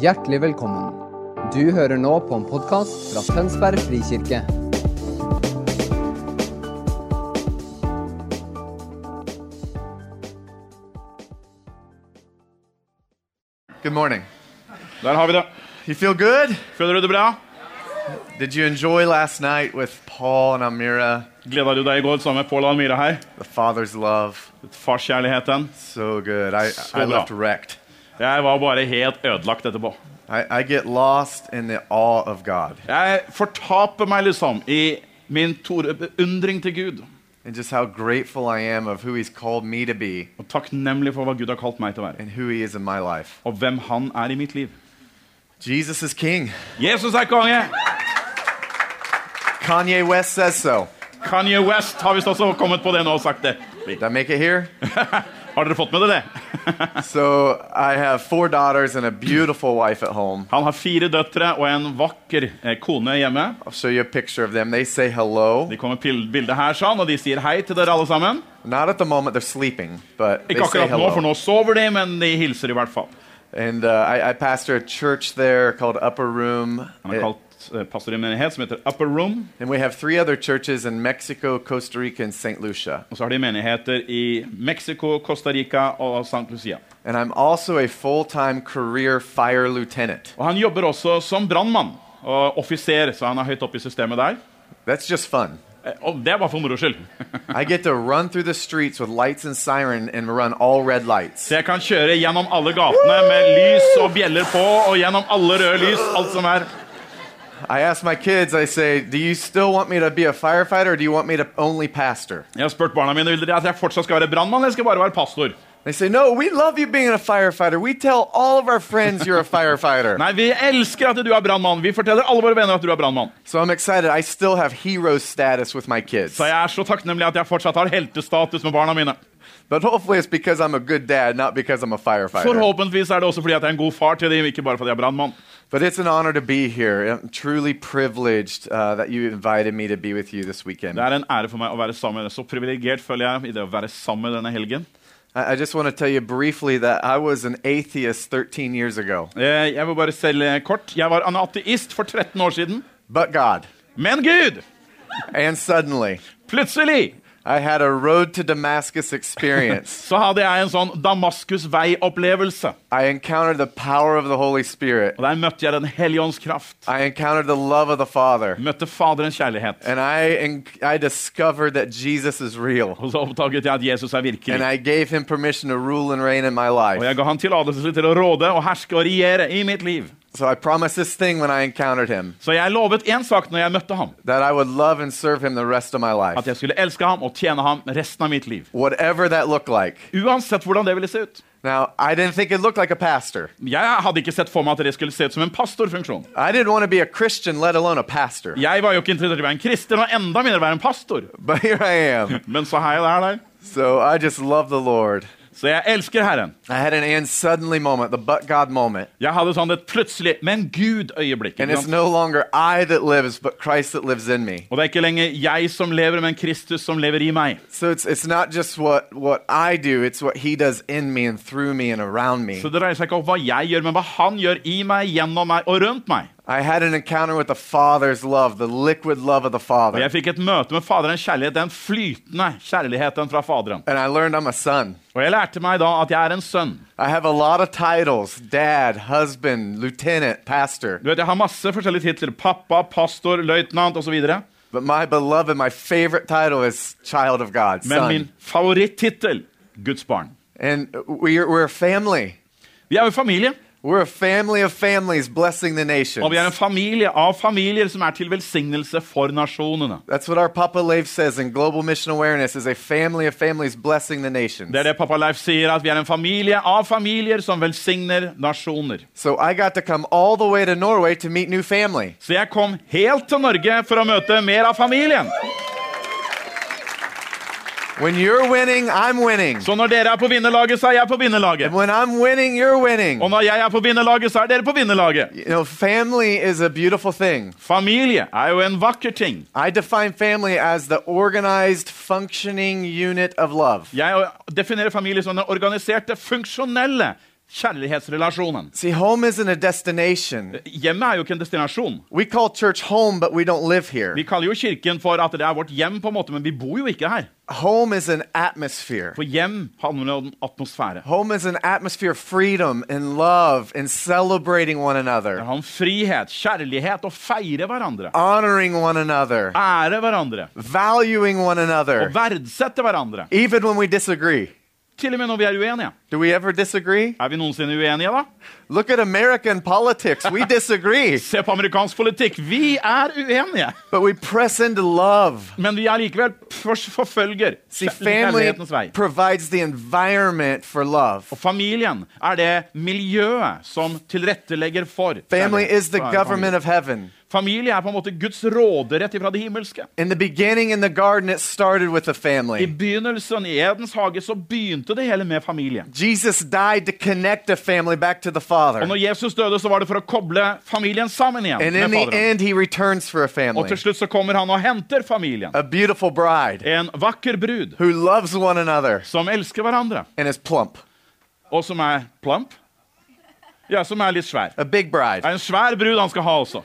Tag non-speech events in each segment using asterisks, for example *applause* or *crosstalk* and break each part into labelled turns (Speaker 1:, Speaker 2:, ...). Speaker 1: Hjertelig velkommen. Du hører nå på en podkast fra Tønsberg frikirke.
Speaker 2: Good morning.
Speaker 3: Der har vi det.
Speaker 2: You feel good?
Speaker 3: Føler du det bra?
Speaker 2: Did you enjoy last night with Paul and Amira?
Speaker 3: Gleda du deg i går sammen med Pål og Almira her?
Speaker 2: The father's love.
Speaker 3: Farskjærligheten.
Speaker 2: So good. I, I
Speaker 3: So
Speaker 2: left
Speaker 3: bra.
Speaker 2: wrecked.
Speaker 3: Jeg var bare helt ødelagt etterpå.
Speaker 2: I, I get lost in the awe of God
Speaker 3: Jeg fortaper meg liksom i min store beundring til Gud.
Speaker 2: and just how grateful I am of who He's called me to be
Speaker 3: Og takknemlig for hva Gud har kalt meg til å være.
Speaker 2: and who He is in my life.
Speaker 3: Og hvem han er i mitt liv.
Speaker 2: Jesus is King.
Speaker 3: Jesus er konge!
Speaker 2: Kanye West says so.
Speaker 3: Kanye West har visst også kommet på det nå og sagt det.
Speaker 2: Did I make it here?
Speaker 3: Har dere fått med dere det?
Speaker 2: so I have four daughters and a beautiful wife at home.
Speaker 3: Han har fire døtre og en vakker eh, kone hjemme.
Speaker 2: I'll show you a picture of them. They say hello.
Speaker 3: De kommer pil- bildet her, sånn, og de sier hei til dere alle sammen.
Speaker 2: Not at the moment they're sleeping, but they
Speaker 3: Ikke
Speaker 2: say
Speaker 3: akkurat nå,
Speaker 2: hello.
Speaker 3: for nå sover de, men de hilser i hvert fall.
Speaker 2: And uh, I, I pastor a church there called Upper Room.
Speaker 3: Han er
Speaker 2: It-
Speaker 3: kalt eh, pastor i en menighet som heter Upper Room.
Speaker 2: and we have three other churches in Mexico, Costa Rica, and St. Lucia.
Speaker 3: Og så har de menigheter i Mexico, Costa Rica og St. Lucia.
Speaker 2: And I'm also a full time career fire lieutenant.
Speaker 3: Og han jobber også som brannmann og offiser, så han er høyt oppe i systemet der.
Speaker 2: That's just fun.
Speaker 3: Eh, Og det er bare for moro skyld. *laughs*
Speaker 2: I get to run through the streets with lights and siren and run all red lights.
Speaker 3: Så jeg kan kjøre gjennom alle gatene med lys og bjeller på, og gjennom alle røde lys, alt som er.
Speaker 2: I ask my kids, I say, Do you still want me to be a firefighter or do you want me to only pastor?
Speaker 3: Jeg har spurt barna mine vil dere at jeg fortsatt skal være brannmann eller skal jeg bare være pastor.
Speaker 2: They say, No, we love you being a firefighter. We tell all of our friends you're a
Speaker 3: *laughs*
Speaker 2: firefighter.
Speaker 3: Nei, vi elsker at du er brannmann. Vi forteller alle våre venner at du er brannmann.
Speaker 2: So I'm excited. I still have hero status with my kids.
Speaker 3: Så jeg er så takknemlig at jeg fortsatt har heltestatus med barna mine.
Speaker 2: But hopefully it's because I'm a good dad, not because I'm a firefighter.
Speaker 3: Forhåpentligvis er det også fordi at jeg er en god far til dem, ikke bare fordi jeg er brannmann.
Speaker 2: But it's an honor to be here. I'm truly privileged uh, that you invited me to be with you this weekend.
Speaker 3: Det er en ære for meg å være sammen med dere. Så privilegert føler jeg i det å være sammen med denne helgen.
Speaker 2: I, I just want to tell you briefly that I was an atheist 13 years ago,
Speaker 3: Eh, Jeg vil bare selge kort. Jeg var en ateist for 13 år siden.
Speaker 2: but God.
Speaker 3: Men Gud!
Speaker 2: And suddenly,
Speaker 3: Plutselig
Speaker 2: I had a road to Damascus
Speaker 3: *laughs*
Speaker 2: experience.
Speaker 3: så hadde jeg en sånn Damaskus-vei-opplevelse.
Speaker 2: I encountered the power of the Holy Spirit.
Speaker 3: Og Der møtte jeg Den hellige ånds kraft.
Speaker 2: I encountered the love of the Father.
Speaker 3: Møtte Faderens kjærlighet.
Speaker 2: And I, en- I discovered that Jesus is real.
Speaker 3: Og så oppdaget jeg at Jesus er
Speaker 2: And
Speaker 3: virkelig.
Speaker 2: I gave him permission to rule and reign in my
Speaker 3: Og
Speaker 2: life.
Speaker 3: jeg ga han tillatelse til å råde og herske og regjere i mitt liv.
Speaker 2: So I promised this thing when I encountered him.
Speaker 3: Så jeg lovet én sak når jeg møtte ham.
Speaker 2: that I would love and serve him the rest of my
Speaker 3: At
Speaker 2: life,
Speaker 3: jeg skulle elske ham og tjene ham resten av mitt liv.
Speaker 2: whatever that looked like.
Speaker 3: Uansett hvordan det ville se ut.
Speaker 2: Now, I didn't think it looked like a pastor.
Speaker 3: Jeg hadde ikke sett for meg at det skulle se ut som en pastorfunksjon.
Speaker 2: I didn't want to be a Christian, let alone a pastor.
Speaker 3: Jeg var jo ikke interessert i å være en kristen, og enda mindre være en pastor.
Speaker 2: But here I
Speaker 3: *laughs*
Speaker 2: am.
Speaker 3: Men så har jeg det her der.
Speaker 2: So I just love the Lord.
Speaker 3: Så jeg elsker Herren.
Speaker 2: I had an and suddenly moment, the but God moment.
Speaker 3: Jeg hadde sånn et plutselig Men Gud-øyeblikk.
Speaker 2: And
Speaker 3: ikke
Speaker 2: it's
Speaker 3: sant?
Speaker 2: no longer I that lives, but Christ that lives in me.
Speaker 3: Og det er ikke lenger jeg som lever, men Kristus som lever i meg.
Speaker 2: So it's, it's not just what, what I do, it's what he does in me and through me and around me.
Speaker 3: Så det dreier seg ikke om hva jeg gjør, men hva han gjør i meg, gjennom meg og rundt meg.
Speaker 2: I had an encounter with the Father's love, the liquid love of the Father.
Speaker 3: Og jeg fikk et møte med Faderens kjærlighet, den flytende kjærligheten fra Faderen.
Speaker 2: And I learned I'm a son.
Speaker 3: Og jeg lærte meg da at jeg er en sønn.
Speaker 2: I have a lot of titles dad, husband, lieutenant, pastor.
Speaker 3: Du vet, Jeg har masse forskjellige titler. Pappa, pastor, løytnant osv.
Speaker 2: But my beloved, my favorite title is child of God,
Speaker 3: Men
Speaker 2: son.
Speaker 3: min favorittittel Guds barn.
Speaker 2: And we're, we're a family.
Speaker 3: Vi er jo familie,
Speaker 2: We're a family of families blessing the nations.
Speaker 3: og vi er en familie av familier som er til velsignelse for nasjonene.
Speaker 2: That's what our Papa Leif says in Global Mission Awareness is a family of families blessing the nations.
Speaker 3: Det er det pappa Leif sier, at vi er en familie av familier som velsigner nasjoner.
Speaker 2: so I got to come all the way to Norway to meet new family.
Speaker 3: Så jeg kom helt til Norge for å møte mer av familien.
Speaker 2: When you're winning, I'm winning.
Speaker 3: Så når dere er på vinnerlaget, så er jeg på
Speaker 2: and
Speaker 3: vinnerlaget.
Speaker 2: when I'm winning, you're winning.
Speaker 3: Og når jeg er på vinnerlaget, så er dere på vinnerlaget.
Speaker 2: you know, family is a beautiful thing.
Speaker 3: Familie er jo en vakker ting.
Speaker 2: I define family as the organized, functioning unit of love.
Speaker 3: Jeg definerer familie som den organiserte, funksjonelle kjærlighetsrelasjonen.
Speaker 2: See, home isn't a destination.
Speaker 3: Hjemmet er jo ikke en destinasjon.
Speaker 2: We call church home, but we don't live here.
Speaker 3: Vi kaller jo kirken for at det er vårt hjem, på en måte, men vi bor jo ikke her.
Speaker 2: Home is an atmosphere.
Speaker 3: For hjem handler om atmosfære.
Speaker 2: Home is an atmosphere of freedom and love and celebrating one
Speaker 3: Det
Speaker 2: another,
Speaker 3: handler om frihet, kjærlighet, å feire hverandre.
Speaker 2: honoring one another,
Speaker 3: Ære hverandre.
Speaker 2: valuing one
Speaker 3: Og
Speaker 2: another,
Speaker 3: verdsette hverandre.
Speaker 2: even when we disagree.
Speaker 3: Til og med når vi er uenige.
Speaker 2: Do we ever disagree?
Speaker 3: Er vi noensinne uenige, da?
Speaker 2: Look at American politics. We disagree,
Speaker 3: Se på amerikansk politikk. Vi er uenige,
Speaker 2: but we press into love.
Speaker 3: men vi er likevel for forfølger
Speaker 2: See,
Speaker 3: kjærlighetens
Speaker 2: family
Speaker 3: vei.
Speaker 2: provides the environment for love.
Speaker 3: Og familien er det miljøet som tilrettelegger for
Speaker 2: Family
Speaker 3: kjærlighet.
Speaker 2: is the
Speaker 3: Familie.
Speaker 2: government of heaven.
Speaker 3: Familie er på en måte Guds råderett ifra det himmelske.
Speaker 2: In the beginning, in the garden, it started with a
Speaker 3: I
Speaker 2: family.
Speaker 3: begynnelsen, i Edens hage, så begynte det hele med familie.
Speaker 2: Jesus died to connect a family back to the
Speaker 3: Og
Speaker 2: Father.
Speaker 3: når Jesus døde, så var det for å koble familien sammen igjen
Speaker 2: And in
Speaker 3: med
Speaker 2: the
Speaker 3: Faderen.
Speaker 2: end, he returns for a
Speaker 3: Og
Speaker 2: family,
Speaker 3: til slutt så kommer han og henter familien.
Speaker 2: a beautiful bride
Speaker 3: En vakker brud
Speaker 2: who loves one another
Speaker 3: som elsker hverandre,
Speaker 2: and is plump,
Speaker 3: og som er plump. Ja, som er litt svær.
Speaker 2: a big
Speaker 3: Det
Speaker 2: bride.
Speaker 3: er en svær brud han skal ha også.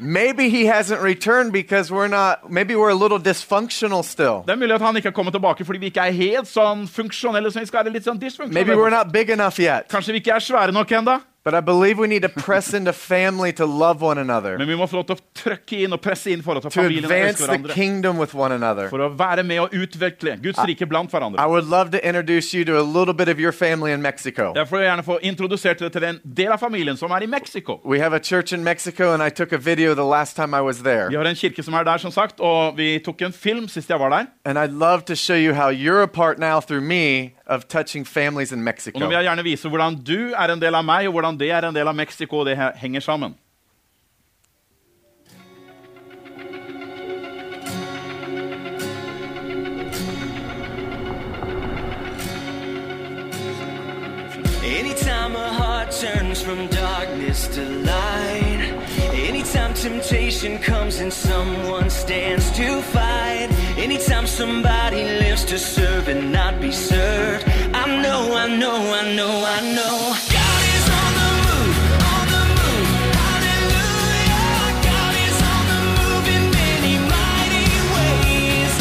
Speaker 2: Maybe he hasn't returned because we're not, maybe we're a little dysfunctional still.
Speaker 3: Det er mulig at han ikke har kommet tilbake fordi vi ikke er helt sånn funksjonelle som vi skal være. litt sånn
Speaker 2: Maybe we're
Speaker 3: dysfunksjonelle.
Speaker 2: not big enough yet.
Speaker 3: Kanskje vi ikke er svære nok ennå,
Speaker 2: But I believe we need to press into family to love one another,
Speaker 3: men vi må få lov til å trykke inn og presse inn forhold til
Speaker 2: to
Speaker 3: familien og
Speaker 2: advance
Speaker 3: elske
Speaker 2: the
Speaker 3: hverandre.
Speaker 2: kingdom Ah. with one another.
Speaker 3: For å være med og utvikle Guds rike blant
Speaker 2: I
Speaker 3: hverandre.
Speaker 2: would love to introduce you to a little bit of your family in Mexico.
Speaker 3: Derfor vil jeg gjerne få introdusert dere til en del av familien som er i Mexico.
Speaker 2: We have a church in Mexico, and I took a video the last time I was there.
Speaker 3: Vi har en kirke som er der, som sagt, og vi tok en film sist jeg var der.
Speaker 2: And I'd love to show you how you're a part now through me of touching families in
Speaker 3: Og nå vil
Speaker 2: Mexico.
Speaker 3: jeg gjerne vise hvordan du er en del av meg, og hvordan det er en del av Mexico, og det he- henger sammen.
Speaker 4: Anytime a heart turns from darkness to light, anytime temptation comes and someone stands to fight, anytime somebody lives to serve and not be served, I know, I know, I know, I know. God is on the move, on the move, hallelujah. God is on the move in many mighty ways.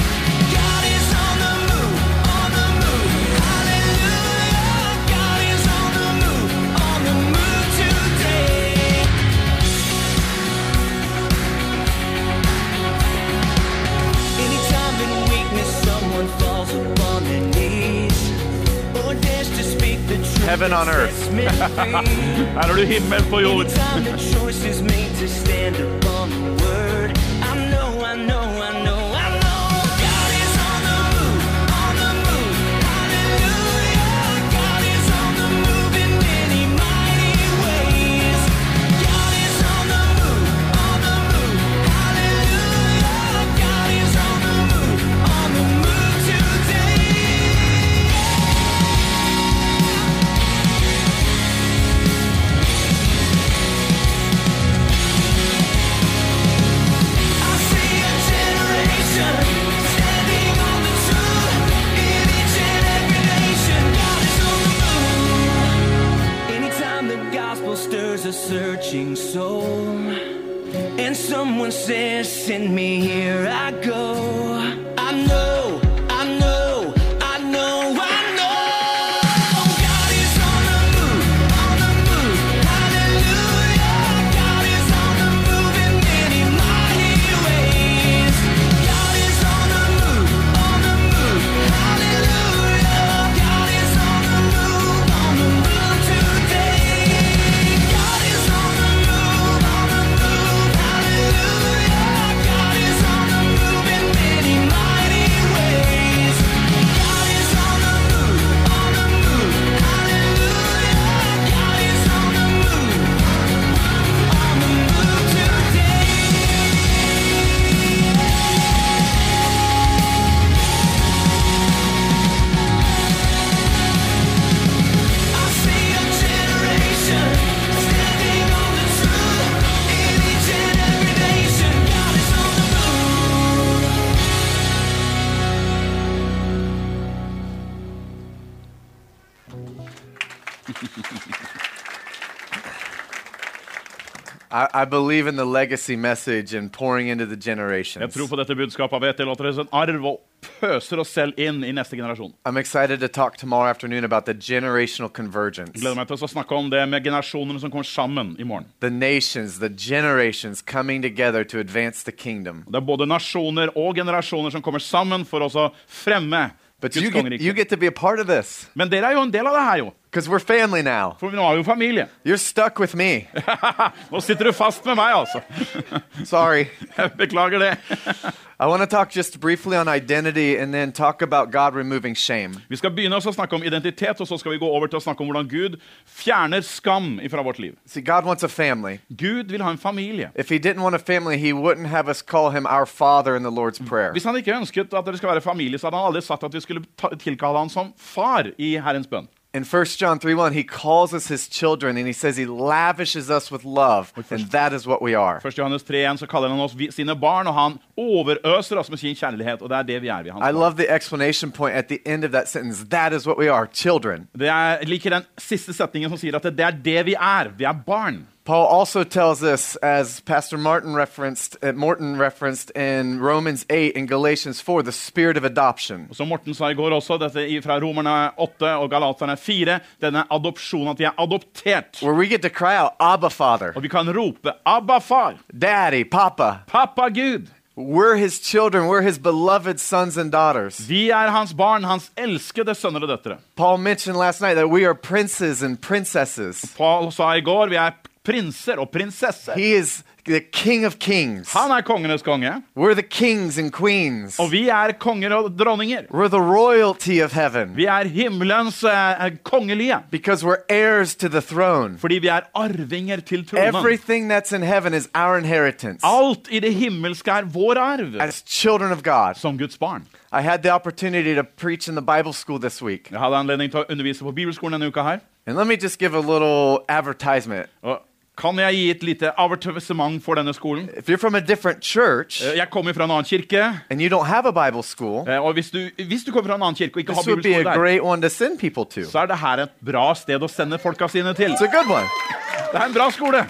Speaker 4: God is on the move, on the move, hallelujah. God is on the move, on the move today. Anytime in weakness someone falls upon their knees or dares to speak the truth.
Speaker 2: Heaven on
Speaker 4: that
Speaker 2: earth.
Speaker 4: sets
Speaker 2: *laughs*
Speaker 4: men free.
Speaker 3: Her er du himmel på jord.
Speaker 4: Anytime the choice is made to stand upon the word, I know, I know, I know, I know. God is on the move, on the move. Hallelujah. God is on the move in many mighty ways. God is on the move, on the move. Hallelujah. God is on the move, on the move today. I see a generation standing on the truth. In each and every nation, God is on the move. Anytime the gospel stirs a searching soul, and someone says, "Send me here," I go. I know, I know, I know, I know. God is on the move, on the move. Hallelujah. God is on the move in many mighty ways. God is on the move, on the move. Hallelujah. God is on the move, on the move today. God is on the move, on the move. Hallelujah. God is on the move in many
Speaker 2: I, I believe in the legacy message and pouring into the
Speaker 3: Jeg
Speaker 2: generations.
Speaker 3: tror på dette budskapet av et etterlater en arv og pøser oss selv inn i neste generasjon.
Speaker 2: I'm excited to talk tomorrow afternoon about the generational convergence.
Speaker 3: Gleder meg til å snakke om det med generasjonene som kommer sammen i morgen.
Speaker 2: The nations, the generations coming together to advance the kingdom.
Speaker 3: Det er både nasjoner og generasjoner som kommer sammen for oss å fremme
Speaker 2: But
Speaker 3: Guds
Speaker 2: you get, you
Speaker 3: kongerike.
Speaker 2: get to be a part of this
Speaker 3: Men dere er jo en del av det her, jo.
Speaker 2: because we're family now.
Speaker 3: For nå er vi jo familie.
Speaker 2: You're stuck with me.
Speaker 3: *laughs* Nå sitter du fast med meg, altså.
Speaker 2: Sorry.
Speaker 3: Jeg beklager det.
Speaker 2: I want to talk just briefly on identity and then talk about God removing shame.
Speaker 3: Vi skal begynne også å snakke om identitet, og så skal vi gå over til å snakke om hvordan Gud fjerner skam fra vårt liv.
Speaker 2: See, God wants a family.
Speaker 3: Gud vil ha en familie.
Speaker 2: If He didn't want a family, He wouldn't have us call Him our Father in the Lord's Prayer.
Speaker 3: Hvis han ikke ønsket at dere skal være familie, så hadde han aldri sagt at vi skulle ta- tilkalle han som far i Herrens bønn.
Speaker 2: In 1 John 3 1, He calls us His children and He says He lavishes us with love, and that is what we are.
Speaker 3: 1. Johannes 3,1 så kaller han oss vi, sine barn, og han overøser oss med sin kjærlighet. Og det er det vi er. Vi, er hans
Speaker 2: I
Speaker 3: barn.
Speaker 2: love the explanation point at the end of that sentence. That is what we are, children.
Speaker 3: det er, jeg liker den siste setningen som sier at det er det vi er. Vi er barn.
Speaker 2: Paul also tells us, as Pastor Martin referenced, uh, Morton referenced in Romans 8 and Galatians 4, the spirit of adoption.
Speaker 3: Som Morten sa i går også, dette i- fra Romerne 8 og Galaterne 4, denne adopsjonen, at vi er adoptert.
Speaker 2: Where we get to cry out, Abba, Father,
Speaker 3: Og vi kan rope 'Abba, far!
Speaker 2: Daddy, Papa.
Speaker 3: Pappa, Gud!'
Speaker 2: We're His children. We're His beloved sons and daughters.
Speaker 3: Vi er hans barn, hans elskede sønner og døtre.
Speaker 2: Paul mentioned last night that we are princes and princesses.
Speaker 3: Paul sa i går vi er prinser og prinsesser.
Speaker 2: He is the King of Kings.
Speaker 3: Han er kongenes konge,
Speaker 2: We're the kings and queens.
Speaker 3: og vi er konger og dronninger.
Speaker 2: We're the royalty of heaven
Speaker 3: Vi er himmelens eh, kongelige,
Speaker 2: because we're heirs to the throne.
Speaker 3: fordi vi er arvinger til tronen.
Speaker 2: Everything that's in heaven is our inheritance
Speaker 3: Alt i det himmelske er vår arv
Speaker 2: as children of God.
Speaker 3: som Guds barn.
Speaker 2: I had the opportunity to preach in the Bible school this week.
Speaker 3: Jeg hadde anledning til å undervise på bibelskolen denne uka her.
Speaker 2: And let me just give a little advertisement.
Speaker 3: Og kan jeg gi et lite avertissement for denne skolen?
Speaker 2: If you're from a different church
Speaker 3: Eh, Jeg kommer fra en annen kirke,
Speaker 2: and you don't have a Bible school,
Speaker 3: eh, og hvis du, hvis du kommer fra en annen kirke og ikke har
Speaker 2: this would be a
Speaker 3: bibelskole der,
Speaker 2: great one to send people to. It's
Speaker 3: så er det her et bra sted å sende folka sine til.
Speaker 2: a good one.
Speaker 3: Det er en bra skole.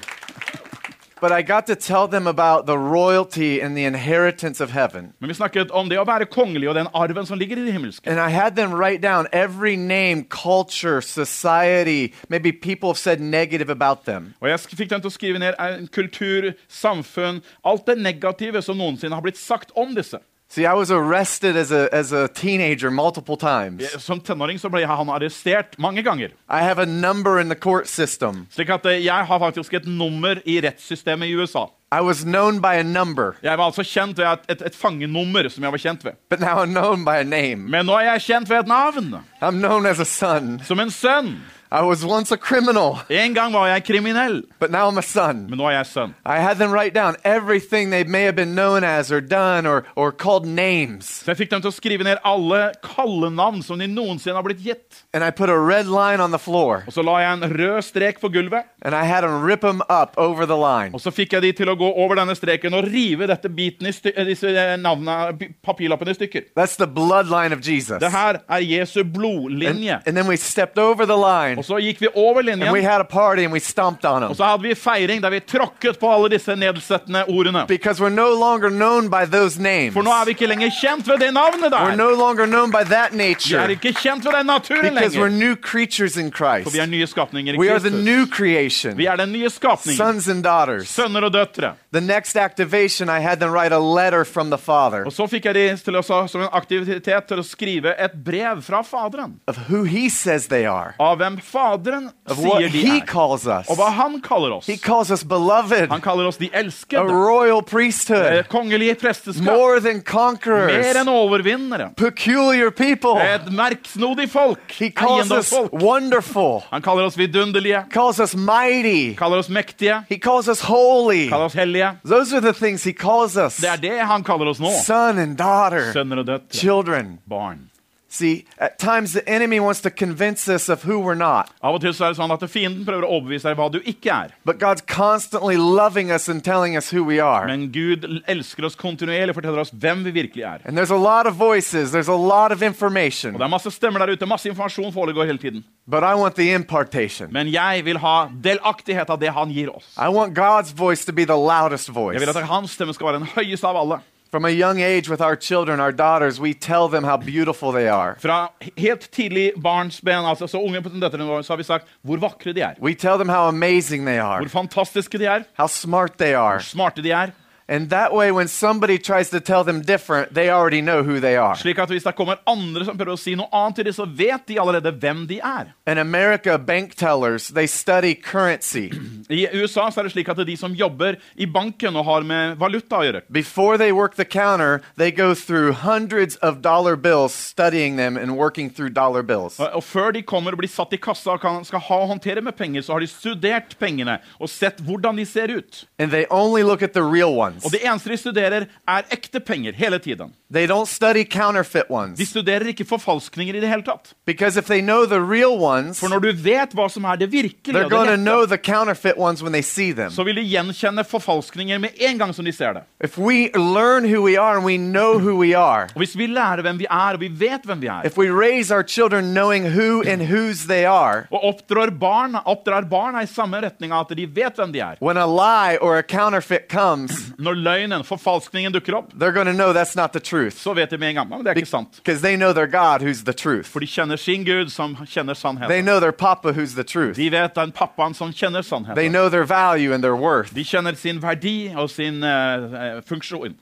Speaker 2: But I got to tell them about the royalty and the inheritance of heaven.
Speaker 3: Men vi snakket om det å være kongelig og den arven som ligger i det himmelske.
Speaker 2: And I had them write down every name, culture, society, maybe people have said negative about them.
Speaker 3: Og jeg sk- fikk dem til å skrive ned eh, kultur, samfunn, alt det negative som noensinne har blitt sagt om disse.
Speaker 2: See, I was arrested as a, as a teenager multiple times.
Speaker 3: Eh, Som tenåring så ble han arrestert mange ganger.
Speaker 2: I have a number in the court system.
Speaker 3: Slik at eh, jeg har faktisk et nummer i rettssystemet i USA.
Speaker 2: I was known by a number,
Speaker 3: Jeg var altså kjent ved et, et, et fangenummer som jeg var kjent ved.
Speaker 2: but now I'm known by a name.
Speaker 3: Men nå er jeg kjent ved et navn.
Speaker 2: I'm known as a son.
Speaker 3: Som en sønn.
Speaker 2: I was once a criminal,
Speaker 3: En gang var jeg kriminell,
Speaker 2: but now I'm a son.
Speaker 3: men nå er jeg sønn.
Speaker 2: I had them write down everything they may have been known as or done or, or called names.
Speaker 3: Så jeg fikk dem til å skrive ned alle kallenavn som de noensinne har blitt gitt.
Speaker 2: And I put a red line on the floor
Speaker 3: Og så la jeg en rød strek på gulvet.
Speaker 2: and I had them rip them up over the line.
Speaker 3: Og så fikk jeg de til å gå over denne streken og rive dette biten i sty eh, disse eh, navna, p- papirlappene i stykker.
Speaker 2: That's the bloodline of Jesus.
Speaker 3: Det her er Jesu
Speaker 2: and,
Speaker 3: blodlinje.
Speaker 2: and then we stepped over the line
Speaker 3: Og så gikk vi over
Speaker 2: and we
Speaker 3: linjen,
Speaker 2: had a party and we stomped on
Speaker 3: og
Speaker 2: them.
Speaker 3: så hadde vi feiring der vi tråkket på alle disse nedsettende ordene.
Speaker 2: Because we're no longer known by those names.
Speaker 3: For nå er vi ikke lenger kjent ved det navnet
Speaker 2: We're
Speaker 3: der.
Speaker 2: no longer known by that
Speaker 3: Vi er
Speaker 2: nature.
Speaker 3: ikke kjent ved den naturen
Speaker 2: Because we're
Speaker 3: lenger.
Speaker 2: new creatures in Christ.
Speaker 3: For vi er nye skapninger i
Speaker 2: We are the
Speaker 3: Kristus.
Speaker 2: new creation.
Speaker 3: Vi er den nye skapningen.
Speaker 2: Sons and daughters.
Speaker 3: Sønner og døtre.
Speaker 2: The next activation, I had them write a letter from the Father
Speaker 3: Og så fikk jeg de til å, som en aktivitet til å skrive et brev fra Faderen.
Speaker 2: of who He says they are,
Speaker 3: Av hvem Faderen
Speaker 2: of
Speaker 3: sier
Speaker 2: what
Speaker 3: de
Speaker 2: He
Speaker 3: er.
Speaker 2: calls us.
Speaker 3: Og hva han kaller oss.
Speaker 2: He calls us beloved,
Speaker 3: Han kaller oss de
Speaker 2: a
Speaker 3: elskede.
Speaker 2: royal
Speaker 3: eh,
Speaker 2: priesthood,
Speaker 3: Kongelige presteskap.
Speaker 2: more than conquerors.
Speaker 3: Mer enn overvinnere.
Speaker 2: peculiar people.
Speaker 3: Et merksnodig folk.
Speaker 2: Oh. He calls us
Speaker 3: Eiendomsfolk.
Speaker 2: wonderful.
Speaker 3: Han kaller oss vidunderlige.
Speaker 2: Calls us mighty.
Speaker 3: Kaller oss mektige.
Speaker 2: He calls us holy.
Speaker 3: Kaller oss hellige.
Speaker 2: Those are the things he calls us.
Speaker 3: Det er det han kaller oss nå.
Speaker 2: Son and daughter,
Speaker 3: Sønner og døtre.
Speaker 2: children.
Speaker 3: Barn.
Speaker 2: See, at times the enemy wants to convince us of who we're not,
Speaker 3: Av og til så er det sånn at fienden prøver å overbevise deg hva du ikke er.
Speaker 2: but God's constantly loving us and telling us who we are.
Speaker 3: Men Gud elsker oss kontinuerlig og forteller oss hvem vi virkelig er.
Speaker 2: And there's a lot of voices, there's a lot of
Speaker 3: Og Det
Speaker 2: information,
Speaker 3: er masse stemmer der ute, masse informasjon foregår hele tiden.
Speaker 2: but I want the impartation.
Speaker 3: Men jeg vil ha delaktighet av det han gir oss.
Speaker 2: I want God's voice to be the loudest
Speaker 3: Jeg
Speaker 2: voice.
Speaker 3: vil at hans stemme skal være den høyeste av alle.
Speaker 2: From a young age with our children, our daughters, we tell them how beautiful they are.
Speaker 3: Fra helt tidlig barnsben, altså så unge på døtrene våre, så har vi sagt hvor vakre de er.
Speaker 2: We tell them how amazing they are,
Speaker 3: Hvor fantastiske de er.
Speaker 2: how smart they are.
Speaker 3: Hvor smarte de er.
Speaker 2: And that way, when somebody tries to tell them different, they already know who they are.
Speaker 3: Slik at hvis det kommer andre som prøver å si noe annet til dem, så vet de allerede hvem de er.
Speaker 2: In America, bank tellers, they study currency. *clears throat*
Speaker 3: I USA så er det slik at de som jobber i banken og har med valuta å gjøre,
Speaker 2: Before they work the counter, they go through hundreds of dollar bills, studying them and working through dollar bills.
Speaker 3: og før de kommer og blir satt i kassa og kan, skal ha og håndtere med penger, så har de studert pengene og sett hvordan de ser ut.
Speaker 2: And they only look at the real ones.
Speaker 3: Og det eneste de studerer, er ekte penger hele tiden.
Speaker 2: They don't study counterfeit
Speaker 3: De
Speaker 2: ones.
Speaker 3: studerer ikke forfalskninger i det hele tatt.
Speaker 2: Because if they know the real ones,
Speaker 3: For når du vet hva som er det virkelige,
Speaker 2: they're
Speaker 3: og
Speaker 2: going to
Speaker 3: det
Speaker 2: know
Speaker 3: ekte,
Speaker 2: the counterfeit ones when they see them.
Speaker 3: så vil de gjenkjenne forfalskninger med en gang som de ser det.
Speaker 2: If we learn who we are and we know who we are,
Speaker 3: Og hvis vi lærer hvem vi er, og vi vet hvem vi er,
Speaker 2: if we raise our children knowing who and whose they are,
Speaker 3: og oppdrar barna, oppdrar barna i samme retning av at de vet hvem de er,
Speaker 2: when a lie or a counterfeit comes,
Speaker 3: når løgnen, forfalskningen dukker opp,
Speaker 2: they're going to know that's not the truth.
Speaker 3: så vet de med en gang at det er ikke sant.
Speaker 2: Because they know their God who's the truth.
Speaker 3: For de kjenner sin Gud, som kjenner
Speaker 2: They
Speaker 3: sannheten.
Speaker 2: know their papa who's the truth.
Speaker 3: De vet den pappaen som kjenner
Speaker 2: They
Speaker 3: sannheten.
Speaker 2: know their value and their worth.
Speaker 3: De kjenner sin verdi og sin eh, eh, funksjon.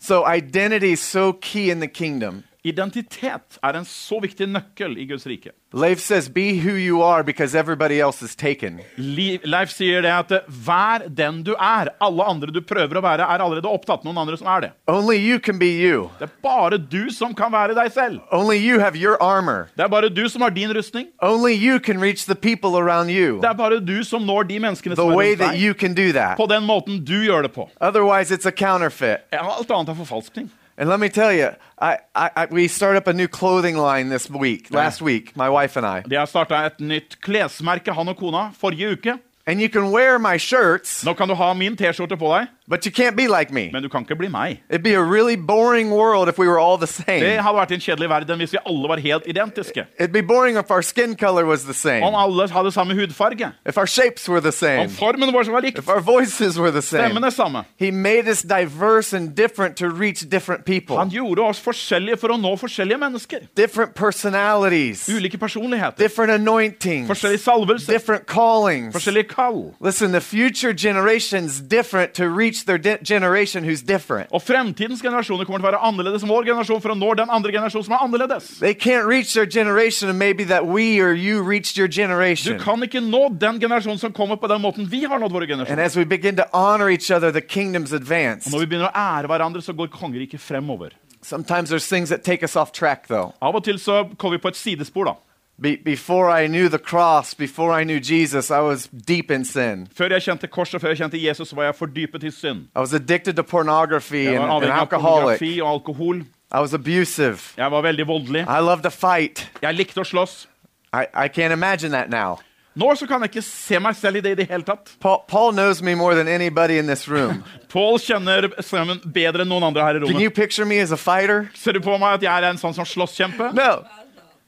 Speaker 2: So identity is so key in the kingdom.
Speaker 3: Identitet er en så viktig nøkkel i Guds rike.
Speaker 2: Leif says, be who you are because everybody else is taken.
Speaker 3: Li- Leif sier det at eh, vær den du er. Alle andre du prøver å være, er allerede opptatt. Noen andre som er det.
Speaker 2: Only you can be you.
Speaker 3: Det er bare du som kan være deg selv.
Speaker 2: Only you have your armor.
Speaker 3: Det er bare du som har din rustning.
Speaker 2: Only you can reach the people around you
Speaker 3: Det er bare du som når de menneskene
Speaker 2: the
Speaker 3: som er
Speaker 2: way
Speaker 3: rundt
Speaker 2: that
Speaker 3: deg.
Speaker 2: you can do that.
Speaker 3: På den måten du gjør det på.
Speaker 2: Otherwise, it's a counterfeit.
Speaker 3: Alt annet er forfalskning.
Speaker 2: And let me tell you, I, I, I, we start up a new clothing line this week, last week, my wife and I.
Speaker 3: De har starta et nytt klesmerke, han og kona, forrige uke.
Speaker 2: And you can wear my shirts,
Speaker 3: Nå kan du ha min T-skjorte på deg,
Speaker 2: but you can't be like me.
Speaker 3: men du kan ikke bli meg.
Speaker 2: It'd be a really boring world if we were all the
Speaker 3: Det
Speaker 2: same.
Speaker 3: hadde vært en kjedelig verden hvis vi alle var helt identiske.
Speaker 2: It'd be boring if our skin color was the
Speaker 3: Om
Speaker 2: same,
Speaker 3: alle hadde samme hudfarge.
Speaker 2: if our shapes were the same,
Speaker 3: Om formen vår var lik.
Speaker 2: if our voices were the same.
Speaker 3: Stemmen er samme.
Speaker 2: He made us diverse and different to reach different
Speaker 3: Han
Speaker 2: people,
Speaker 3: gjorde oss forskjellige for å nå forskjellige mennesker.
Speaker 2: different personalities,
Speaker 3: Ulike personligheter.
Speaker 2: different anointings,
Speaker 3: Forskjellig salvelse.
Speaker 2: different callings.
Speaker 3: Forskjellig kall.
Speaker 2: Listen, the future generation's different to reach their de- generation who's different.
Speaker 3: Og fremtidens generasjoner kommer til å være annerledes enn vår generasjon for å nå den andre generasjonen som er annerledes.
Speaker 2: They can't reach their generation, and maybe that we or you reached your
Speaker 3: Du
Speaker 2: generation.
Speaker 3: kan ikke nå den generasjonen som kommer på den måten vi har nådd våre
Speaker 2: And
Speaker 3: generasjoner.
Speaker 2: as we begin to honor each other, the kingdom's advanced.
Speaker 3: Når vi begynner å ære hverandre, så går kongeriket fremover.
Speaker 2: Sometimes there's things that take us off track, though.
Speaker 3: Av og til så kommer vi på et sidespor, da.
Speaker 2: Be- before I knew the cross, before I knew Jesus, I was deep in sin.
Speaker 3: Før jeg kjente korset, før jeg kjente Jesus, så var jeg fordypet i synd.
Speaker 2: I was addicted to pornography
Speaker 3: Jeg
Speaker 2: and,
Speaker 3: var
Speaker 2: and
Speaker 3: avhengig av
Speaker 2: alcoholic.
Speaker 3: pornografi og alkohol.
Speaker 2: I was abusive.
Speaker 3: Jeg var veldig voldelig.
Speaker 2: I loved to fight.
Speaker 3: Jeg likte å slåss.
Speaker 2: I, I can't imagine that now.
Speaker 3: Nå så kan jeg ikke se meg selv i det i det hele tatt.
Speaker 2: Paul, Paul knows me more than anybody in this room.
Speaker 3: Paul kjenner strømmen bedre enn noen andre her i
Speaker 2: Can you
Speaker 3: rommet.
Speaker 2: picture me as a fighter?
Speaker 3: Ser du på meg at jeg er en sånn som slåsskjempe?
Speaker 2: No.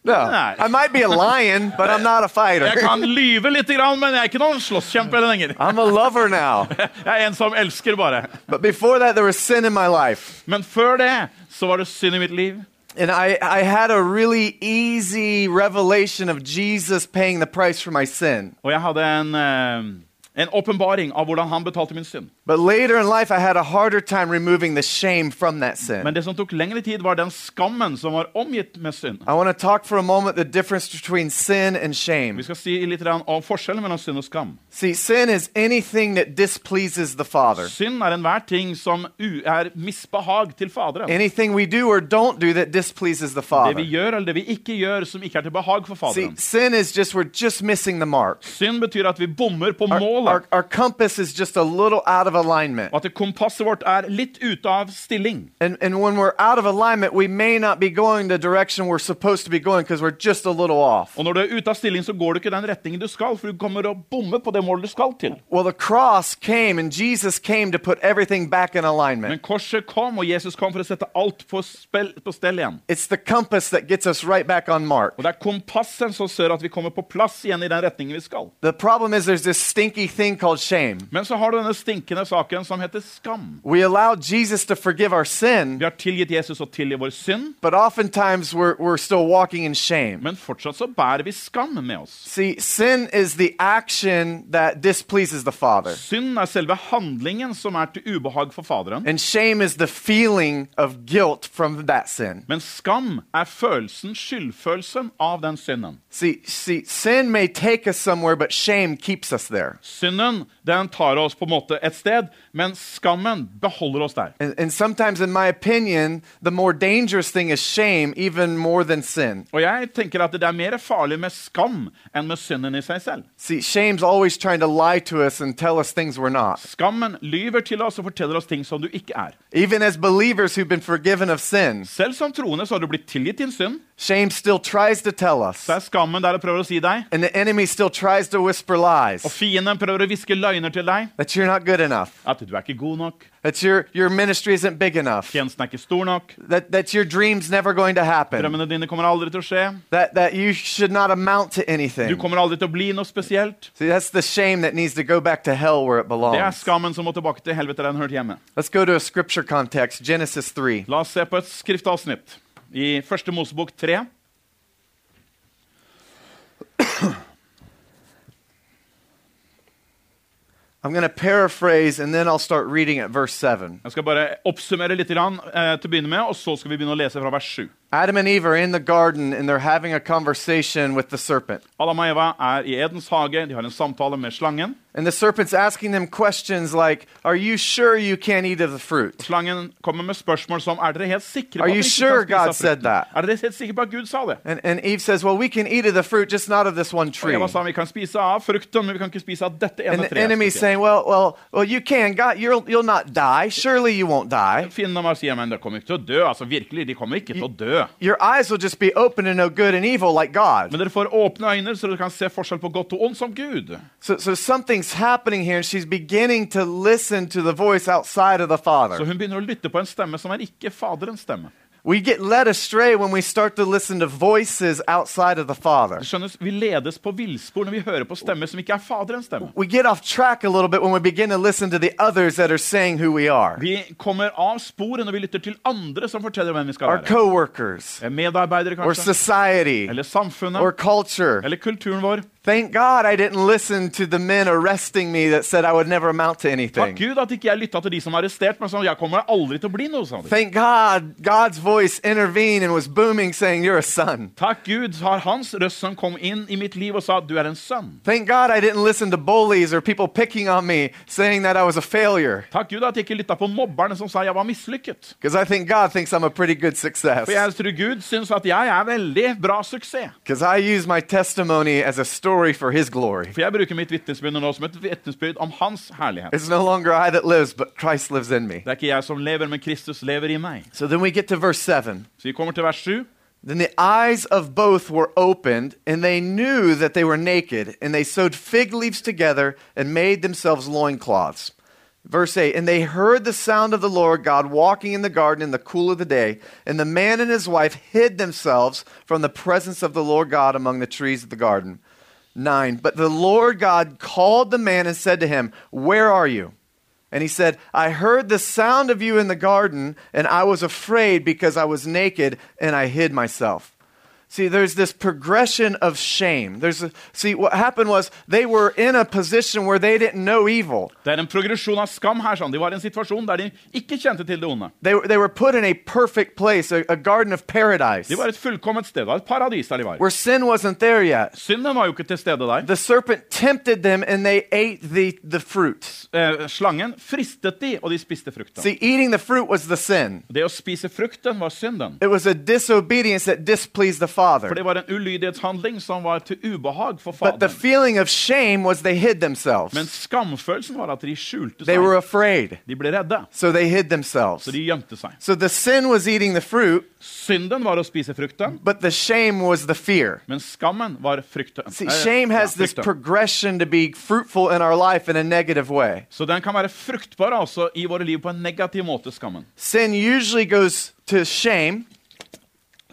Speaker 2: No.
Speaker 3: Nice.
Speaker 2: I might be a lion, but I'm not a fighter.
Speaker 3: Jeg kan lyve litt, grann, men jeg er ikke noen slåsskjempe lenger.
Speaker 2: I'm a lover now.
Speaker 3: Jeg er en som elsker, bare.
Speaker 2: But before that, there was sin in my life.
Speaker 3: Men før det så var det synd i mitt liv.
Speaker 2: And I, I had a really easy revelation of Jesus paying the price for my sin.
Speaker 3: Og jeg hadde en eh, en åpenbaring av hvordan han betalte min synd.
Speaker 2: But later in life, I had a harder time removing the shame from that
Speaker 3: Men
Speaker 2: sin.
Speaker 3: det som tok lengre tid, var den skammen som var omgitt med synd.
Speaker 2: I want to talk for a moment the difference between sin and shame.
Speaker 3: Vi skal si litt grann om forskjellen mellom synd og skam.
Speaker 2: See, sin is anything that displeases the Father.
Speaker 3: Synd er enhver ting som u er misbehag til Faderen.
Speaker 2: Anything we do or don't do that displeases the
Speaker 3: Det vi
Speaker 2: Father.
Speaker 3: gjør eller det vi ikke gjør, som ikke er til behag for
Speaker 2: See,
Speaker 3: Faderen.
Speaker 2: sin is just we're just missing the mark.
Speaker 3: Synd betyr at vi bommer på
Speaker 2: Our, our,
Speaker 3: målet.
Speaker 2: our compass is just a little out of of alignment.
Speaker 3: og at kompasset vårt er litt ute av stilling.
Speaker 2: And, and when we're out of alignment, we may not be going the direction we're supposed to be going because we're just a little off.
Speaker 3: Og når du er ute av stilling, så går du ikke den retningen du skal, for du kommer å bomme på det målet du skal til.
Speaker 2: Well, the cross came and Jesus came to put everything back in
Speaker 3: Men
Speaker 2: alignment.
Speaker 3: korset kom, og Jesus kom for å sette alt på, spell, på stell igjen.
Speaker 2: It's the compass that gets us right back on mark.
Speaker 3: Og det er kompasset som ser at vi kommer på plass igjen i den retningen vi skal.
Speaker 2: The problem is there's this stinky thing called shame.
Speaker 3: Men så har du denne stinkende saken som heter skam.
Speaker 2: We allow Jesus to forgive our sin,
Speaker 3: Vi har tilgitt Jesus og tilgi vår synd,
Speaker 2: but oftentimes we're, we're still walking in shame.
Speaker 3: men fortsatt så bærer vi skam med oss.
Speaker 2: See, sin is the action that displeases the Father,
Speaker 3: Synd er selve handlingen som er til ubehag for Faderen.
Speaker 2: and shame is the feeling of guilt from that sin.
Speaker 3: Men skam er følelsen, skyldfølelsen av den synden.
Speaker 2: See, see, sin may take us somewhere, but shame keeps us there.
Speaker 3: Synden den tar oss på en måte et sted, men skammen beholder oss der.
Speaker 2: And, and sometimes, in my opinion, the more dangerous thing is shame, even more than sin.
Speaker 3: Og jeg tenker at det er mer farlig med skam enn med synden i seg selv.
Speaker 2: See, shame's always trying to lie to us and tell us things we're not.
Speaker 3: Skammen lyver til oss og forteller oss ting som du ikke er.
Speaker 2: Even as believers who've been forgiven of sin,
Speaker 3: Selv som troende så har du blitt tilgitt din synd.
Speaker 2: shame still tries to tell us.
Speaker 3: Så er skammen der og prøver å si deg.
Speaker 2: And the enemy still tries to whisper
Speaker 3: Og
Speaker 2: lies
Speaker 3: fienden prøver å hviske løgner til deg.
Speaker 2: that you're not good enough,
Speaker 3: At du er ikke god nok,
Speaker 2: that your, your ministry isn't big enough,
Speaker 3: tjenesten er ikke stor nok,
Speaker 2: that, that your dream's never going to happen,
Speaker 3: drømmene dine kommer aldri til å skje,
Speaker 2: that, that you should not amount to
Speaker 3: du
Speaker 2: anything.
Speaker 3: kommer aldri til å bli noe spesielt.
Speaker 2: See, that's the shame that needs to go back to hell where it
Speaker 3: Det er
Speaker 2: belongs.
Speaker 3: skammen som må tilbake til helvete der den hørte hjemme.
Speaker 2: Let's go to a scripture context Genesis 3.
Speaker 3: La oss se på et skriftavsnitt i Første Mosebok 3.
Speaker 2: I'm going to paraphrase and then I'll start reading at verse 7.
Speaker 3: Jeg skal bare oppsummere litt grann, eh, til å begynne med, og så skal vi begynne å lese fra vers 7.
Speaker 2: Adam and Eve are in the garden and they're having a conversation with the serpent.
Speaker 3: Adam og Eva er i Edens hage, de har en samtale med slangen.
Speaker 2: And the serpent's asking them questions like, Are you sure you can't eat of the fruit?
Speaker 3: Slangen kommer med spørsmål som Er dere helt sikre på
Speaker 2: Are
Speaker 3: at
Speaker 2: you
Speaker 3: dere ikke
Speaker 2: sure
Speaker 3: kan spise av
Speaker 2: God said
Speaker 3: frukten?
Speaker 2: that?
Speaker 3: Er dere helt sikre på at Gud sa det?
Speaker 2: And, and Eve says, Well, we can eat of the fruit, just not of this one
Speaker 3: Og
Speaker 2: tree.
Speaker 3: Eva sa vi kan spise av frukten, men vi kan ikke spise av dette
Speaker 2: And
Speaker 3: ene
Speaker 2: the enemy's
Speaker 3: treet.
Speaker 2: saying, Well, well, well, you can. God, you'll, you'll not die. Surely you won't die.
Speaker 3: Finnene bare sier men dere kommer ikke til å dø. Altså virkelig, de kommer ikke til å dø.
Speaker 2: Your eyes will just be open to know good and evil like God.
Speaker 3: Men dere får åpne øyne, så dere kan se forskjell på godt og ondt som Gud.
Speaker 2: So, so something's happening here, and she's beginning to listen to the voice outside of the
Speaker 3: Så
Speaker 2: Father.
Speaker 3: hun begynner å lytte på en stemme som er ikke Faderens stemme.
Speaker 2: We get led astray when we start to listen to voices outside of the Father.
Speaker 3: Du skjønner, Vi ledes på villspor når vi hører på stemmer som ikke er Faderens stemme.
Speaker 2: We get off track a little bit when we begin to listen to the others that are saying who we are
Speaker 3: Vi kommer av sporet når vi lytter til andre som forteller hvem vi skal
Speaker 2: our
Speaker 3: være.
Speaker 2: coworkers,
Speaker 3: Eh, Medarbeidere,
Speaker 2: or
Speaker 3: kanskje.
Speaker 2: society,
Speaker 3: Eller
Speaker 2: or
Speaker 3: samfunnet.
Speaker 2: culture.
Speaker 3: Eller kulturen vår.
Speaker 2: Thank God I didn't listen to the men arresting me that said I would never amount to
Speaker 3: Takk
Speaker 2: anything.
Speaker 3: Gud at ikke jeg lytta til de som er arrestert, men sånn, jeg kommer aldri til å bli noe. sa de.
Speaker 2: Thank God God's voice intervened and was booming, saying, You're a son.
Speaker 3: Takk Gud har hans røst som kom inn i mitt liv og sa du er en sønn.
Speaker 2: Thank God I didn't listen to bullies or people picking on me saying that I was a failure.
Speaker 3: Takk Gud at jeg ikke lytta på mobberne som sa jeg var mislykket.
Speaker 2: Because I think God thinks I'm a pretty good
Speaker 3: For jeg
Speaker 2: success.
Speaker 3: tror Gud syns at jeg er veldig bra suksess.
Speaker 2: Because I use my testimony as a story for His glory.
Speaker 3: For jeg bruker mitt vitnesbyrd nå som et vitnesbyrd om hans herlighet.
Speaker 2: It's no longer I that lives, but Christ lives in me.
Speaker 3: Det er ikke jeg som lever, men Kristus lever i meg.
Speaker 2: So then we get to verse 7.
Speaker 3: Så vi kommer til vers 7.
Speaker 2: Then the eyes of both were opened, and they knew that they were naked, and they sewed fig leaves together and made themselves loincloths. Verse 8 And they heard the sound of the Lord God walking in the garden in the cool of the day, and the man and his wife hid themselves from the presence of the Lord God among the trees of the garden. 9 But the Lord God called the man and said to him, Where are you? And he said, I heard the sound of you in the garden, and I was afraid because I was naked and I hid myself. See, there's this progression of shame. There's a, see, what happened was they were in a position where they didn't know evil.
Speaker 3: Det er en progresjon av skam her. sånn. De var i en situasjon der de ikke kjente til det onde.
Speaker 2: They, were- they were put in a perfect place, a, a garden of paradise,
Speaker 3: De var et fullkomment sted. Det var et paradis der de var.
Speaker 2: where sin wasn't there yet.
Speaker 3: Synden var jo ikke til stede der.
Speaker 2: The serpent tempted them and they ate the, the fruit.
Speaker 3: Eh, Slangen fristet de, og de spiste frukten.
Speaker 2: See, eating the fruit was the sin.
Speaker 3: Det å spise frukten var synden.
Speaker 2: It was a disobedience that displeased the father.
Speaker 3: For det var en ulydighetshandling som var til ubehag for
Speaker 2: But the
Speaker 3: faderen.
Speaker 2: feeling of shame was they hid
Speaker 3: Men
Speaker 2: themselves.
Speaker 3: skamfølelsen var at de skjulte
Speaker 2: They were
Speaker 3: seg.
Speaker 2: afraid,
Speaker 3: De ble redde,
Speaker 2: so they hid themselves.
Speaker 3: så de gjemte seg.
Speaker 2: So the sin was eating the fruit,
Speaker 3: Synden var å spise frukten,
Speaker 2: but the shame was the fear.
Speaker 3: men skammen var frykten.
Speaker 2: See,
Speaker 3: Eh,
Speaker 2: shame
Speaker 3: ja,
Speaker 2: has this
Speaker 3: frykten.
Speaker 2: progression to be fruitful in our life in a negative way.
Speaker 3: Så den kan være fruktbar altså i våre liv på en negativ måte, skammen.
Speaker 2: Sin usually goes to shame,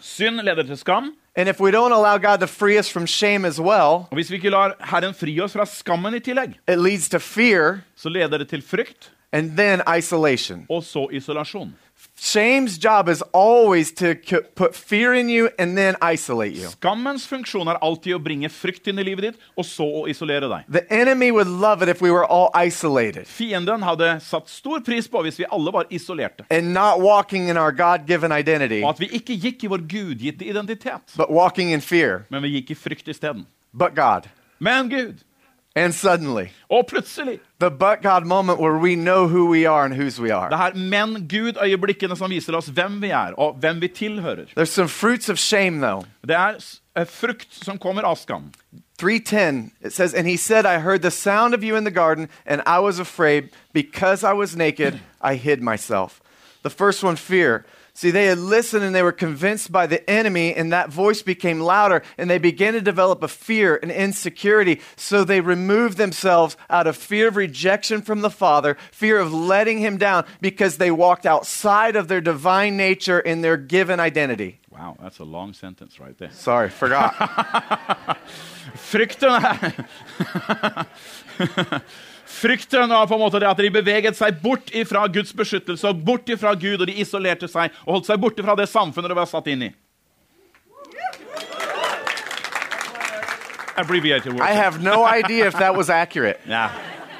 Speaker 3: Synd leder til skam,
Speaker 2: and if we don't allow God to free us from shame as well,
Speaker 3: og hvis vi ikke lar Herren fri oss fra skammen i tillegg,
Speaker 2: it leads to fear
Speaker 3: så leder det til frykt,
Speaker 2: and then isolation.
Speaker 3: og så isolasjon.
Speaker 2: Shame's job is always to c- put fear in you and then isolate you.
Speaker 3: Skammens funksjon er alltid å bringe frykt inn i livet ditt, og så å isolere deg.
Speaker 2: The enemy would love it if we were all isolated
Speaker 3: Fienden hadde satt stor pris på hvis vi alle var isolerte,
Speaker 2: and not walking in our God given identity,
Speaker 3: og at vi ikke gikk i vår gudgitte identitet,
Speaker 2: but walking in fear,
Speaker 3: men vi gikk i frykt isteden.
Speaker 2: but God.
Speaker 3: Men Gud,
Speaker 2: And suddenly,
Speaker 3: og plutselig,
Speaker 2: the but God moment where we know who we are and whose we
Speaker 3: det
Speaker 2: are.
Speaker 3: her men Gud-øyeblikkene som viser oss hvem vi er, og hvem vi tilhører.
Speaker 2: There's some fruits of shame though.
Speaker 3: Det er s- eh, frukt som kommer av skam.
Speaker 2: 3:10 it says and he said I heard the sound of you in the garden and I was afraid because I was naked I hid myself. The first one fear. See they had listened and they were convinced by the enemy and that voice became louder and they began to develop a fear and insecurity so they removed themselves out of fear of rejection from the father, fear of letting him down because they walked outside of their divine nature and their given identity.
Speaker 3: Wow, that's a long sentence right there.
Speaker 2: Sorry, forgot.
Speaker 3: Frykten er *laughs* Frykten var på en måte det at de beveget seg bort ifra Guds beskyttelse og bort ifra Gud, og de isolerte seg og holdt seg borte fra det samfunnet de var satt inn i. Abbreviated
Speaker 2: I
Speaker 3: word.
Speaker 2: have no idea if that was accurate.
Speaker 3: Yeah.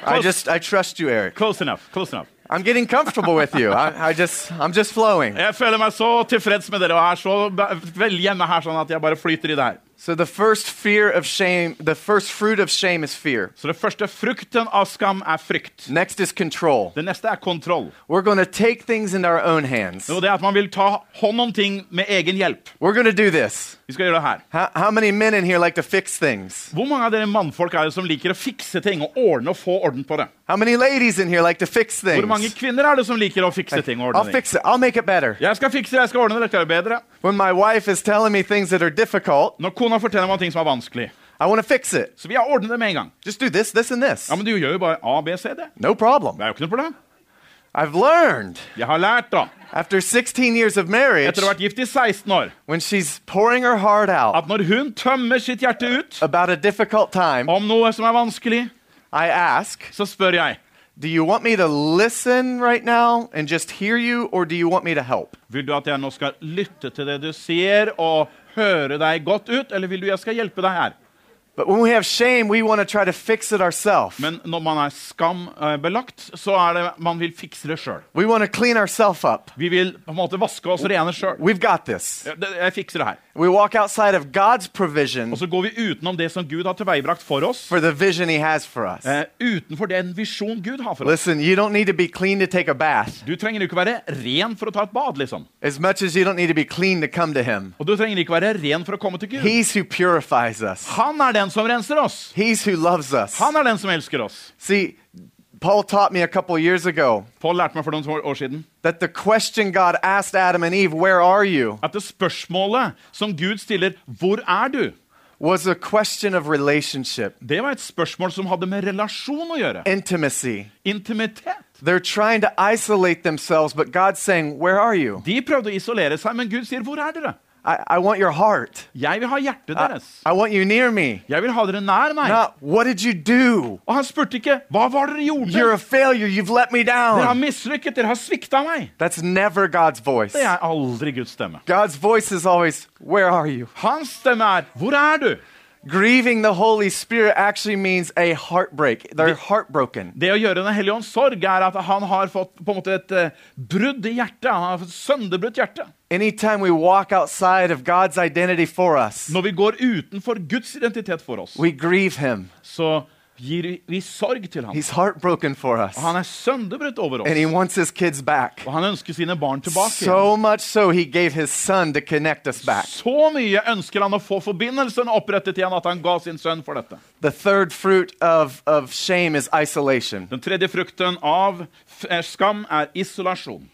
Speaker 2: I
Speaker 3: Close,
Speaker 2: just I trust you, Eric.
Speaker 3: close enough. close enough.
Speaker 2: I'm getting comfortable with you. I, I just I'm just flowing.
Speaker 3: Jeg føler meg så tilfreds med dere og er så be- vel hjemme her sånn at jeg bare flyter i det her.
Speaker 2: So the first fear of shame, the first fruit of shame is fear.
Speaker 3: Så det første frukten av skam er frykt.
Speaker 2: Next is control.
Speaker 3: Det neste er kontroll.
Speaker 2: We're going to take things into our own hands.
Speaker 3: Og det er at man vil ta hånd om ting med egen hjelp.
Speaker 2: We're going to do this.
Speaker 3: Vi skal gjøre det her.
Speaker 2: How, how many men in here like to fix things?
Speaker 3: Hvor mange av dere mannfolk er det som liker å fikse ting og ordne og få orden på det?
Speaker 2: How many ladies in here like to fix
Speaker 3: Hvor mange
Speaker 2: things?
Speaker 3: kvinner er det som liker å fikse ting og
Speaker 2: I'll
Speaker 3: ordne ting?
Speaker 2: fix it. I'll make it better.
Speaker 3: Jeg skal fikse det, jeg skal ordne det, dette er bedre.
Speaker 2: When my wife is telling me things that are difficult,
Speaker 3: Når kona forteller meg om ting som er vanskelig,
Speaker 2: I want to fix it.
Speaker 3: så vil jeg ordne det med en gang.
Speaker 2: Just do this, this, and this.
Speaker 3: Ja, men du gjør jo bare A, B, C, D.
Speaker 2: No problem.
Speaker 3: Det er jo ikke noe problem.
Speaker 2: I've learned
Speaker 3: Jeg har lært, da,
Speaker 2: after 16 years of marriage
Speaker 3: etter å ha vært gift i 16 år,
Speaker 2: when she's pouring her heart out
Speaker 3: at når hun tømmer sitt hjerte ut
Speaker 2: about a difficult time,
Speaker 3: om noe som er vanskelig,
Speaker 2: I ask,
Speaker 3: så spør jeg
Speaker 2: Do you want me to listen right now and just hear you, or do you want me to help?
Speaker 3: Vil du at jeg nå skal lytte til det du sier, og høre deg godt ut, eller vil du jeg skal hjelpe deg her?
Speaker 2: But when we have shame, we want to try to fix it ourselves.
Speaker 3: Men når man er skambelagt, så er det man vil fikse det sjøl.
Speaker 2: We want to clean ourselves up.
Speaker 3: Vi vil på en måte vaske oss rene sjøl.
Speaker 2: We've got this.
Speaker 3: Jeg fikser det her.
Speaker 2: We walk outside of God's provision
Speaker 3: Og så går vi utenom det som Gud har tilveiebrakt for oss.
Speaker 2: for the vision He has for us.
Speaker 3: Eh, utenfor den visjon Gud har for oss.
Speaker 2: Listen, you don't need to be clean to take a bath
Speaker 3: Du trenger ikke være ren for å ta et bad, liksom.
Speaker 2: as much as you don't need to be clean to come to Him.
Speaker 3: Og du trenger ikke være ren for å komme til Gud.
Speaker 2: He's who purifies
Speaker 3: *sighs*
Speaker 2: us,
Speaker 3: Han er den som renser oss.
Speaker 2: He's who loves us.
Speaker 3: Han er den som elsker oss.
Speaker 2: See, Paul taught me a couple years ago
Speaker 3: Paul lærte meg for noen år siden
Speaker 2: that the question God asked Adam and Eve, Where are you?
Speaker 3: at det spørsmålet som Gud stiller 'Hvor er du?'
Speaker 2: was a question of relationship,
Speaker 3: Det var et spørsmål som hadde med relasjon å gjøre.
Speaker 2: intimacy.
Speaker 3: Intimitet.
Speaker 2: They're trying to isolate themselves, but God's saying, Where are you?
Speaker 3: De prøvde å isolere seg, men Gud sier 'Hvor er dere?'
Speaker 2: I, I want your heart.
Speaker 3: Jeg vil ha hjertet deres.
Speaker 2: I want you near me.
Speaker 3: Jeg vil ha dere nær meg.
Speaker 2: Not, What did you do?
Speaker 3: Og han spurte ikke 'Hva var det dere
Speaker 2: You're
Speaker 3: gjorde?'
Speaker 2: a failure. You've let me
Speaker 3: Dere har
Speaker 2: down.
Speaker 3: mislykket. Dere har svikta meg.
Speaker 2: That's never God's voice.
Speaker 3: Det er aldri Guds stemme.
Speaker 2: God's voice is always, Where are you?
Speaker 3: Hans stemme er 'Hvor er du?'
Speaker 2: Grieving the Holy Spirit actually means a heartbreak. They're heartbroken.
Speaker 3: Det å gjøre Den hellige ånds sorg er at han har fått på en måte et eh, brudd i hjertet. Han har fått et sønderbrutt hjerte.
Speaker 2: Anytime we walk outside of God's identity for us,
Speaker 3: Når vi går utenfor Guds identitet for oss,
Speaker 2: we grieve Him.
Speaker 3: så gir vi sorg til ham.
Speaker 2: He's heartbroken for us.
Speaker 3: Og han er sønderbrutt over
Speaker 2: And
Speaker 3: oss.
Speaker 2: he wants his kids back.
Speaker 3: Og han ønsker sine barn tilbake. igjen.
Speaker 2: So much so, he gave his son to connect us back.
Speaker 3: Så mye ønsker han å få forbindelsen opprettet igjen at han ga sin sønn for dette.
Speaker 2: The third fruit of, of shame is isolation.
Speaker 3: Den tredje frukten av f- eh, skam er isolasjon.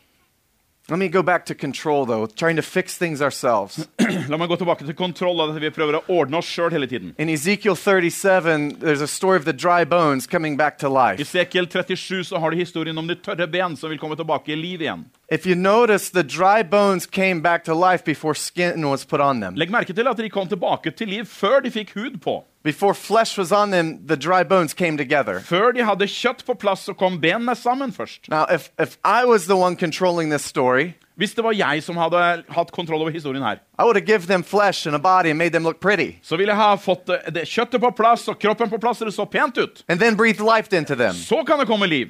Speaker 2: Let me go back to control, though, trying to fix things ourselves.
Speaker 3: La meg gå tilbake til kontroll av at vi prøver å ordne oss sjøl hele tiden.
Speaker 2: In Ezekiel 37, there's a story of the dry bones coming back to
Speaker 3: I
Speaker 2: life.
Speaker 3: Sekel 37 så har du historien om de tørre ben som vil komme tilbake i liv igjen.
Speaker 2: If you notice, the dry bones came back to life before skin was put on them.
Speaker 3: Legg merke til at de kom tilbake til liv før de fikk hud på.
Speaker 2: Before flesh was on them, the dry bones came together.
Speaker 3: Før de hadde kjøtt på plass, så kom benene sammen først.
Speaker 2: Now, if, if I was the one controlling this story,
Speaker 3: Hvis det var jeg som hadde hatt kontroll over historien her,
Speaker 2: I would have given them flesh and a body and made them look pretty,
Speaker 3: så ville jeg ha fått eh, det, kjøttet på plass og kroppen på plass, så det så pent ut.
Speaker 2: and then breathed life into them.
Speaker 3: Så kan det komme liv.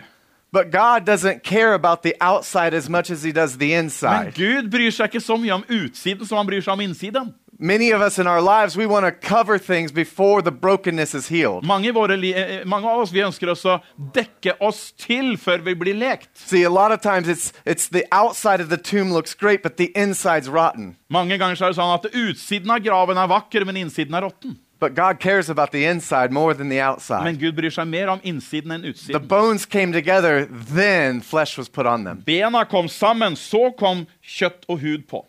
Speaker 2: But God doesn't care about the outside as much as He does the
Speaker 3: Men
Speaker 2: inside.
Speaker 3: Gud bryr seg ikke så mye om utsiden som han bryr seg om innsiden.
Speaker 2: Many of us in our lives, we want to cover things before the brokenness is healed.
Speaker 3: Mange, i våre li eh, mange av oss vi ønsker oss å dekke oss til før vi blir lekt.
Speaker 2: See, a lot of times it's, it's the outside of the tomb looks great, but the inside's rotten.
Speaker 3: Mange ganger så er det sånn at utsiden av graven er vakker, men innsiden er råtten.
Speaker 2: But God cares about the inside more than the outside.
Speaker 3: Men Gud bryr seg mer om innsiden enn
Speaker 2: The
Speaker 3: utsiden.
Speaker 2: bones came together, then flesh was put on them.
Speaker 3: Bena kom sammen, så kom kjøtt og hud på.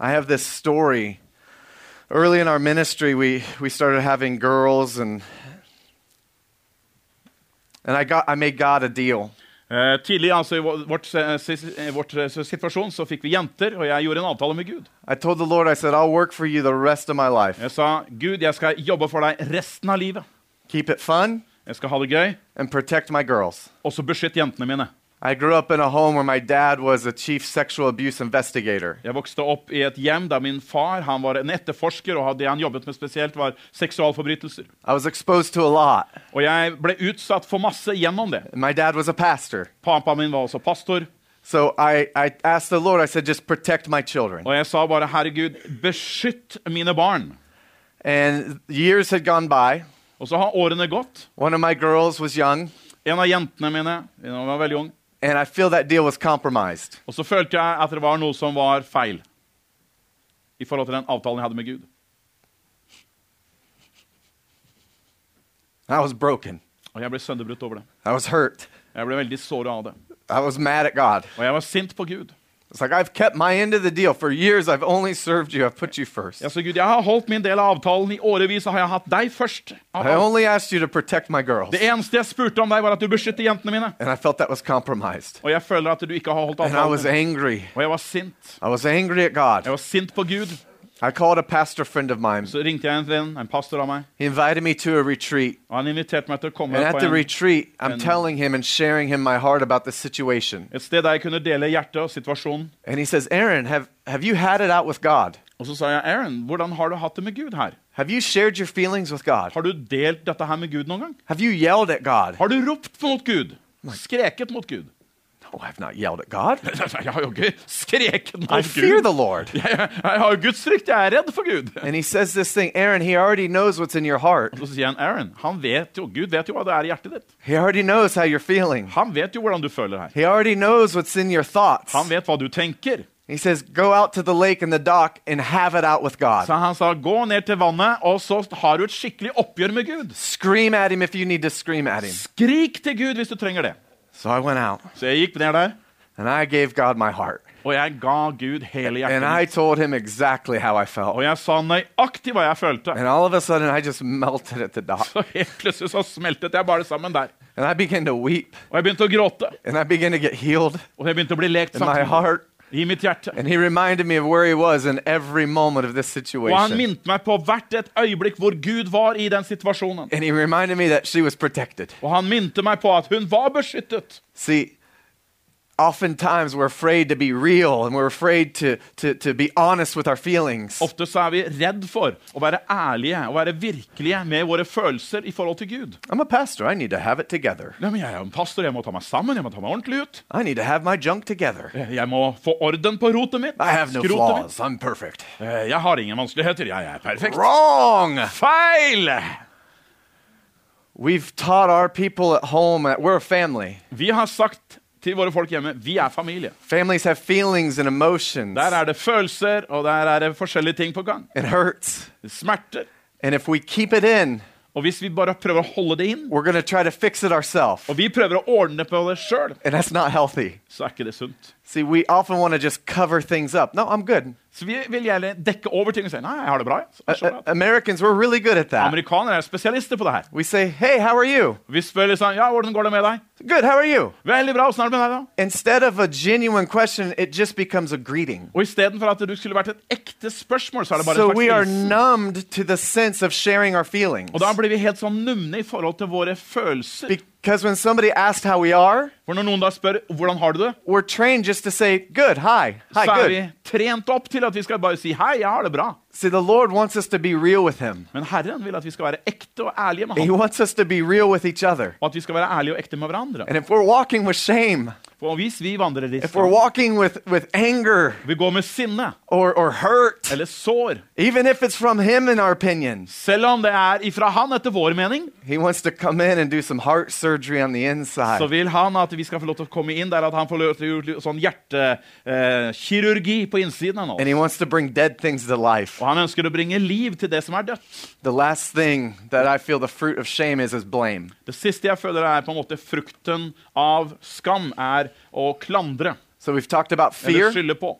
Speaker 2: I have this story. Early in our ministry, we, we started having girls, and, and I, got, I made God a deal.
Speaker 3: Eh, tidlig altså, i vår- vårt, eh, sis- eh, vårt eh, situasjon så fikk vi jenter, og jeg gjorde en avtale med Gud.
Speaker 2: I told the Lord, I said, I'll work for you the rest of my life.
Speaker 3: Jeg sa, Gud, jeg skal jobbe for deg resten av livet.
Speaker 2: Keep it fun
Speaker 3: Jeg skal ha det gøy,
Speaker 2: and protect my girls.
Speaker 3: og så beskytt jentene mine.
Speaker 2: I grew up in a home where my dad was a chief sexual abuse investigator.
Speaker 3: Jeg vokste opp i et hjem der min far han var en etterforsker, og det han jobbet med spesielt, var seksualforbrytelser.
Speaker 2: I was exposed to a lot.
Speaker 3: Og jeg ble utsatt for masse gjennom det.
Speaker 2: And my dad was a pastor.
Speaker 3: Pappaen min var også pastor,
Speaker 2: So I, I asked the Lord, I said, just protect my children.
Speaker 3: og jeg sa bare, Herregud, beskytt mine barn.
Speaker 2: And years had gone by.
Speaker 3: Og så har årene gått.
Speaker 2: One of my girls was young,
Speaker 3: En av jentene mine hun var veldig ung.
Speaker 2: and I feel that deal was compromised.
Speaker 3: Og så følte jeg at det var noe som var feil i forhold til den avtalen jeg hadde med Gud.
Speaker 2: I was broken.
Speaker 3: Og jeg ble sønderbrutt over det.
Speaker 2: I was hurt.
Speaker 3: Jeg ble veldig såret av det.
Speaker 2: I was mad at God.
Speaker 3: Og jeg var sint på Gud.
Speaker 2: It's like, I've kept my end of the deal. For years, I've only served you, I've put you first.
Speaker 3: Jeg sa, Gud, jeg har holdt min del av avtalen. I årevis har jeg hatt deg først. av
Speaker 2: I
Speaker 3: alt.
Speaker 2: only asked you to protect my girls.
Speaker 3: Det eneste jeg spurte om deg, var at du beskytter jentene mine.
Speaker 2: And I felt that was compromised.
Speaker 3: Og jeg føler at du ikke har holdt
Speaker 2: And I was
Speaker 3: avtalen.
Speaker 2: angry.
Speaker 3: Og jeg var sint.
Speaker 2: I was angry at
Speaker 3: Jeg
Speaker 2: God.
Speaker 3: var sint på Gud.
Speaker 2: I called a pastor friend of mine.
Speaker 3: Så ringte jeg en venn, en pastor av meg,
Speaker 2: He invited me to a retreat.
Speaker 3: og han inviterte meg til å komme
Speaker 2: And at
Speaker 3: på
Speaker 2: the
Speaker 3: en,
Speaker 2: retreat, I'm
Speaker 3: and-
Speaker 2: telling him and sharing him my heart about the situation.
Speaker 3: et sted der jeg kunne dele hjertet og situasjonen.
Speaker 2: And he says, Aaron, have, have you had it out with God?
Speaker 3: Og så sa jeg, Aaron, hvordan har du hatt det med Gud her?
Speaker 2: Have you shared your feelings with God?
Speaker 3: Har du delt dette her med Gud noen gang?
Speaker 2: Have you yelled at God?
Speaker 3: Har du ropt mot Gud? Skreket mot Gud? *laughs*
Speaker 2: No, Oh, I've not yelled at God.
Speaker 3: Jeg har jo ikke skreket mot
Speaker 2: I fear
Speaker 3: Gud.
Speaker 2: the Lord.
Speaker 3: *laughs* Jeg, jeg, jeg har jo Guds frykt. Jeg er redd for Gud.
Speaker 2: And he says this thing, Aaron, he already knows what's in your heart.
Speaker 3: Så sier han, Aaron, han vet jo, Gud vet jo hva det er i hjertet ditt.
Speaker 2: He already knows how you're feeling.
Speaker 3: Han vet jo hvordan du føler her.
Speaker 2: He already knows what's in your thoughts.
Speaker 3: Han vet hva du tenker.
Speaker 2: He says, go out to the lake and the dock and have it out with God.
Speaker 3: Så han sa, gå ned til vannet, og så har du et skikkelig oppgjør med Gud.
Speaker 2: Scream at him if you need to scream at him.
Speaker 3: Skrik til Gud hvis du trenger det.
Speaker 2: So I went out
Speaker 3: Så jeg gikk ned der,
Speaker 2: and I gave God my heart.
Speaker 3: og jeg ga Gud hele hjertet.
Speaker 2: And I
Speaker 3: mitt.
Speaker 2: told him exactly how I
Speaker 3: Og
Speaker 2: felt.
Speaker 3: jeg sa nøyaktig hva jeg følte.
Speaker 2: And all of a sudden, I just melted at the dock.
Speaker 3: *laughs* Så helt plutselig så smeltet jeg bare sammen der.
Speaker 2: And I began to weep.
Speaker 3: Og jeg begynte å gråte.
Speaker 2: And I began to get healed
Speaker 3: Og jeg begynte å bli lekt
Speaker 2: in my
Speaker 3: samtidig.
Speaker 2: heart.
Speaker 3: i mitt hjerte.
Speaker 2: And he reminded me of where he was in every moment of this
Speaker 3: Og han
Speaker 2: situation.
Speaker 3: minte meg på hvert et øyeblikk hvor Gud var i den situasjonen.
Speaker 2: And he reminded me that she was protected.
Speaker 3: Og han minte meg på at hun var beskyttet.
Speaker 2: See, oftentimes we're afraid to be real and we're afraid to, to, to be honest with our feelings.
Speaker 3: Ofte så er vi redd for å være ærlige og være virkelige med våre følelser i forhold til Gud.
Speaker 2: I'm a pastor. I need to have it together.
Speaker 3: Nei, men jeg er jo en pastor, jeg må ta meg sammen, jeg må ta meg ordentlig ut.
Speaker 2: I need to have my junk together.
Speaker 3: Jeg må få orden på rotet mitt.
Speaker 2: I have no
Speaker 3: skrotet
Speaker 2: flaws. I'm perfect.
Speaker 3: mitt. Eh, Jeg har ingen vanskeligheter, jeg er perfekt.
Speaker 2: Wrong!
Speaker 3: Feil!
Speaker 2: We've taught our people at home that we're a family.
Speaker 3: Vi har sagt til våre folk hjemme vi er familie.
Speaker 2: Families have feelings and emotions.
Speaker 3: Der er det følelser, og der er det forskjellige ting på gang.
Speaker 2: It hurts.
Speaker 3: Smerter.
Speaker 2: And if we keep it in,
Speaker 3: Og hvis vi bare prøver å holde det inn,
Speaker 2: we're going to try to fix it ourselves.
Speaker 3: og vi prøver å ordne på det sjøl,
Speaker 2: And that's not healthy.
Speaker 3: så er ikke det sunt.
Speaker 2: See, we often want to just cover things up. No, I'm good.
Speaker 3: Så vi vil gjerne dekke over ting og si nei, jeg har det bra. jeg. Så-
Speaker 2: A-
Speaker 3: så
Speaker 2: a-
Speaker 3: bra.
Speaker 2: Americans, we're really good at that.
Speaker 3: Amerikanere er spesialister på det her.
Speaker 2: We say, hey, how are you?
Speaker 3: Vi spør liksom ja, hvordan går det med deg?
Speaker 2: Good, how are you?
Speaker 3: Veldig bra, åssen er det med deg, da?
Speaker 2: Instead of a genuine question, it just becomes a greeting.
Speaker 3: Og istedenfor at du skulle vært et ekte spørsmål, så er det bare
Speaker 2: So
Speaker 3: en
Speaker 2: we are
Speaker 3: slags hilsen.
Speaker 2: numbed to the sense of sharing our feelings.
Speaker 3: Og da blir vi helt sånn numne i forhold til våre følelser.
Speaker 2: Because when somebody asks how we are,
Speaker 3: For når noen da spør 'hvordan har du det',
Speaker 2: we're trained just to say, good, hi, hi,
Speaker 3: så er vi
Speaker 2: good.
Speaker 3: trent opp til at vi skal bare si 'hei, jeg har det bra'.
Speaker 2: See, the Lord wants us to be real with Him.
Speaker 3: Men Herren vil at vi skal være ekte og ærlige med
Speaker 2: He
Speaker 3: ham.
Speaker 2: wants us to be real with each other.
Speaker 3: Og at vi skal være ærlige og ekte med hverandre.
Speaker 2: And if we're walking with shame,
Speaker 3: For hvis vi vandrer i
Speaker 2: if we're
Speaker 3: skam,
Speaker 2: walking with, with anger
Speaker 3: vi går med sinne
Speaker 2: or, or hurt,
Speaker 3: eller sår,
Speaker 2: even if it's from Him in our opinions,
Speaker 3: selv om det er ifra han etter vår mening,
Speaker 2: He wants to come in and do some heart surgery on the
Speaker 3: så
Speaker 2: inside.
Speaker 3: vil han at vi skal få lov til å komme inn der at han får lov til å gjøre sånn hjertekirurgi eh, kirurgi på innsiden av
Speaker 2: And
Speaker 3: oss.
Speaker 2: He wants to bring dead things to life.
Speaker 3: Og han ønsker å bringe liv til det som er dødt.
Speaker 2: The last thing that I feel the fruit of shame is is blame.
Speaker 3: Det siste jeg føler er på en måte frukten av skam, er å klandre.
Speaker 2: So we've talked about
Speaker 3: Eller
Speaker 2: fear,
Speaker 3: skylde på.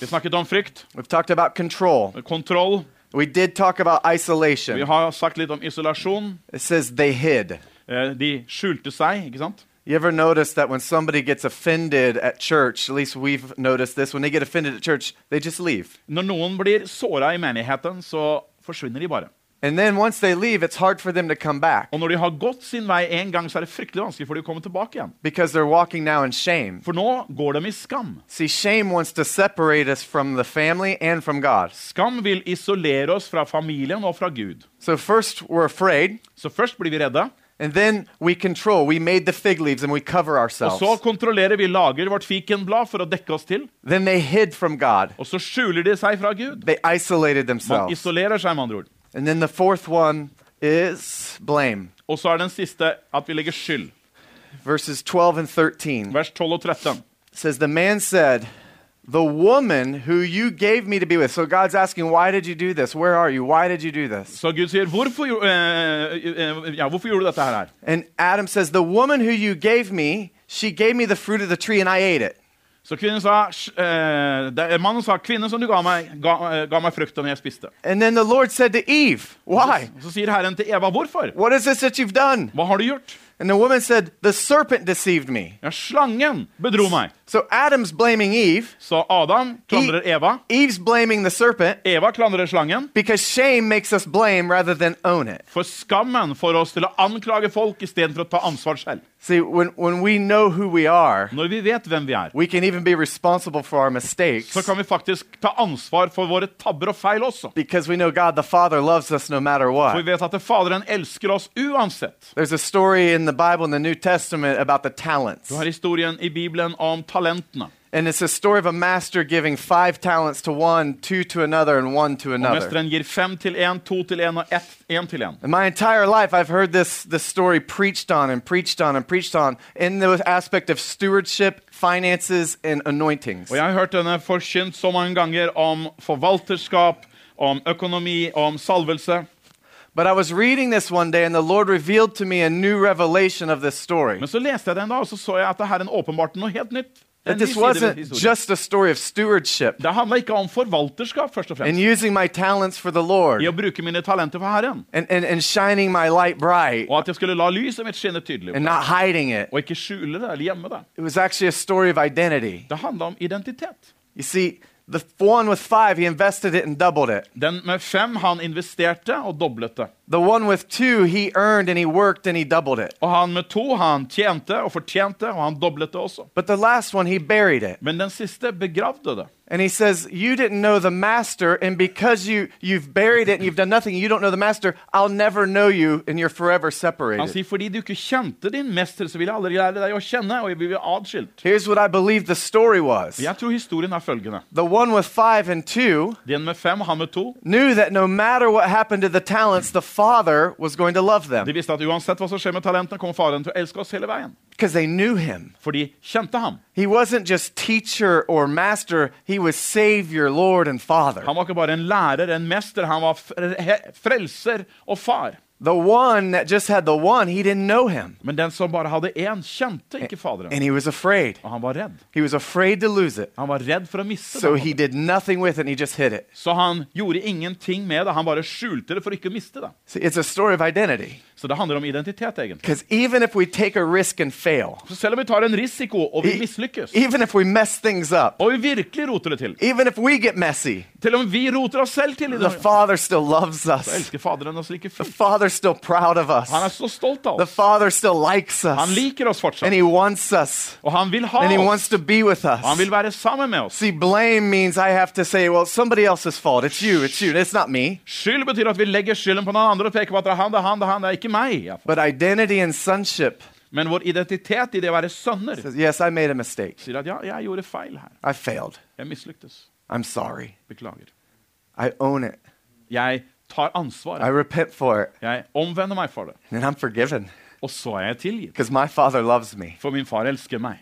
Speaker 3: Vi snakket om frykt,
Speaker 2: we've talked about control.
Speaker 3: kontroll.
Speaker 2: We did talk about
Speaker 3: Vi
Speaker 2: isolation.
Speaker 3: har sagt litt om isolasjon.
Speaker 2: It says they hid.
Speaker 3: Eh, De skjulte seg, ikke sant?
Speaker 2: You ever notice that when somebody gets offended at church, at least we've noticed this, when they get offended at church, they just leave.
Speaker 3: Når noen blir såra i menigheten, så forsvinner de bare.
Speaker 2: And then once they leave, it's hard for them to come back
Speaker 3: Og når de har gått sin vei én gang, så er det fryktelig vanskelig for de å komme tilbake igjen.
Speaker 2: because they're walking now in shame.
Speaker 3: For nå går de i skam.
Speaker 2: See, shame wants to separate us from the family and from God.
Speaker 3: Skam vil isolere oss fra familien og fra Gud.
Speaker 2: So first we're afraid,
Speaker 3: Så først blir vi redde,
Speaker 2: and then we control. We made the fig leaves and we cover
Speaker 3: og så
Speaker 2: ourselves.
Speaker 3: kontrollerer vi, lager vårt fikenblad for å dekke oss til,
Speaker 2: Then they hid from God.
Speaker 3: og så skjuler de seg fra Gud.
Speaker 2: They isolated
Speaker 3: Man
Speaker 2: themselves.
Speaker 3: isolerer seg, med andre ord.
Speaker 2: And then the fourth one is blame.
Speaker 3: Og så er den siste at vi legger skyld.
Speaker 2: Verses 12 and 13.
Speaker 3: Vers 12 og 13.
Speaker 2: says the man said the woman who you gave me to be with so god's asking why did you do this where are you why did you do this
Speaker 3: Så Gud sier, hvorfor, gjo- eh, eh, ja, hvorfor gjorde du dette her?
Speaker 2: and adam says the woman who you gave me she gave me the fruit of the tree and i ate it
Speaker 3: Så kvinnen sa, "Sj- eh, det- mannen sa, kvinnen som du ga meg, ga, eh, ga meg frukten jeg spiste.
Speaker 2: and then the lord said to eve why
Speaker 3: Så sier Herren til Eva, hvorfor?
Speaker 2: what is this that you've done
Speaker 3: Hva har du gjort?
Speaker 2: and the woman said the serpent deceived me
Speaker 3: Ja, slangen bedro meg.
Speaker 2: so adam's blaming eve
Speaker 3: Så Adam klandrer Eva.
Speaker 2: eve's blaming the serpent
Speaker 3: Eva klandrer slangen.
Speaker 2: because shame makes us blame rather than own it
Speaker 3: For skammen får oss til å anklage folk istedenfor å ta ansvar selv.
Speaker 2: see when, when we know who we are
Speaker 3: Når vi vet hvem vi er,
Speaker 2: we can even be responsible for our mistakes
Speaker 3: så kan vi faktisk ta ansvar for våre tabber og feil også.
Speaker 2: Because we know God the Father loves us no matter
Speaker 3: For
Speaker 2: what.
Speaker 3: vi vet at Faderen elsker oss uansett.
Speaker 2: There's a story in the Bible in the New Testament about the talents.
Speaker 3: Du har historien i Bibelen om talentene.
Speaker 2: And it's a story of a master giving five talents to one, two to another, and one to another.
Speaker 3: Mesteren gir fem til én, to til én og ett én til én.
Speaker 2: In my entire life, I've heard this, this story preached on and preached on and preached on in the aspect of stewardship, finances, and anointings.
Speaker 3: Og jeg har hørt denne forkynt så mange ganger om forvalterskap, om økonomi, om salvelse.
Speaker 2: But I was reading this one day, and the Lord revealed to me a new revelation of this story.
Speaker 3: Men så leste jeg den da, og så så jeg at det her er en åpenbart noe helt nytt. Det
Speaker 2: That
Speaker 3: er en ny
Speaker 2: this
Speaker 3: side ved
Speaker 2: wasn't
Speaker 3: historien.
Speaker 2: just a story of stewardship
Speaker 3: Det handla ikke om forvalterskap, først og
Speaker 2: and
Speaker 3: fremst.
Speaker 2: using my talents for the Lord.
Speaker 3: I å bruke mine talenter for Herren.
Speaker 2: and, and, and shining my light bright
Speaker 3: Og at jeg skulle la lyset mitt skinne tydelig.
Speaker 2: and not hiding it.
Speaker 3: Og ikke skjule det eller gjemme det.
Speaker 2: It was actually a story of identity.
Speaker 3: Det handla om identitet.
Speaker 2: You see, the one with five, he invested it and doubled it.
Speaker 3: Den med fem, han investerte og doblet det.
Speaker 2: The one with two, he earned and he worked and he doubled it.
Speaker 3: Og han med to, han tjente og fortjente, og han doblet det også.
Speaker 2: But the last one, he buried it.
Speaker 3: Men den siste begravde det.
Speaker 2: And he says, You didn't know the master, and because you, you've buried it and you've done nothing, you don't know the master, I'll never know you, and you're forever
Speaker 3: Han
Speaker 2: separated.
Speaker 3: sier fordi du ikke kjente din mester, så vil jeg aldri lære deg å kjenne, og jeg blir adskilt.
Speaker 2: Here's what I believe the story was
Speaker 3: Jeg tror historien er følgende.
Speaker 2: the one with five and two
Speaker 3: Den med fem, han med to.
Speaker 2: knew that no matter what happened to the talents, the father was going to love
Speaker 3: De
Speaker 2: them
Speaker 3: visste at uansett hva som skjer med talentene, kommer faren til å elske oss hele veien.
Speaker 2: because they knew him.
Speaker 3: For de kjente ham.
Speaker 2: He wasn't just teacher or master, he was Savior, Lord, and Father.
Speaker 3: Han var ikke bare en lærer, en mester. Han var fre- he- frelser og far.
Speaker 2: The one that just had the one, he didn't know him.
Speaker 3: Men den som bare hadde én, kjente ikke Faderen.
Speaker 2: And he was afraid.
Speaker 3: Og han var redd.
Speaker 2: He was afraid to lose it.
Speaker 3: Han var redd for å miste
Speaker 2: So
Speaker 3: det.
Speaker 2: he did nothing with it and he just hid it.
Speaker 3: Så han gjorde ingenting med det. Han bare skjulte det for ikke å miste det.
Speaker 2: See, it's a story of identity.
Speaker 3: Så det handler om identitet, egentlig.
Speaker 2: Because even if we take a risk and fail,
Speaker 3: Så selv om vi tar en risiko, og vi
Speaker 2: e-
Speaker 3: mislykkes,
Speaker 2: even if we mess things up,
Speaker 3: og vi virkelig roter det til
Speaker 2: even if we get messy,
Speaker 3: Til og med vi roter oss selv til i
Speaker 2: the
Speaker 3: dag, så
Speaker 2: Father still loves us.
Speaker 3: elsker Faderen oss like
Speaker 2: The
Speaker 3: fullt.
Speaker 2: Father's still proud of
Speaker 3: Han er
Speaker 2: us.
Speaker 3: så stolt av
Speaker 2: The
Speaker 3: oss.
Speaker 2: Father still likes
Speaker 3: Han
Speaker 2: us.
Speaker 3: liker oss
Speaker 2: And
Speaker 3: fortsatt.
Speaker 2: he wants us.
Speaker 3: Og han vil ha
Speaker 2: And he
Speaker 3: oss.
Speaker 2: wants to be with
Speaker 3: Han
Speaker 2: us.
Speaker 3: vil være sammen med oss.
Speaker 2: See, blame means I have to say, well, it's somebody else's fault. It's you. It's you. It's not me.
Speaker 3: Skyld betyr at vi legger skylden på noen andre og peker på at det er han, det er han, det er han, det er ikke meg. i hvert fall.
Speaker 2: But identity and sonship
Speaker 3: Men vår identitet i det å være sønner
Speaker 2: says, yes, I made a mistake.
Speaker 3: sier at ja, jeg gjorde feil her.
Speaker 2: I failed.
Speaker 3: Jeg mislyktes.
Speaker 2: I'm sorry.
Speaker 3: Beklager.
Speaker 2: I own it.
Speaker 3: Jeg tar
Speaker 2: I
Speaker 3: ansvaret.
Speaker 2: repent for it.
Speaker 3: Jeg omvender meg for det.
Speaker 2: And I'm forgiven
Speaker 3: Og så er jeg tilgitt.
Speaker 2: because my Father loves me.
Speaker 3: For min far elsker meg.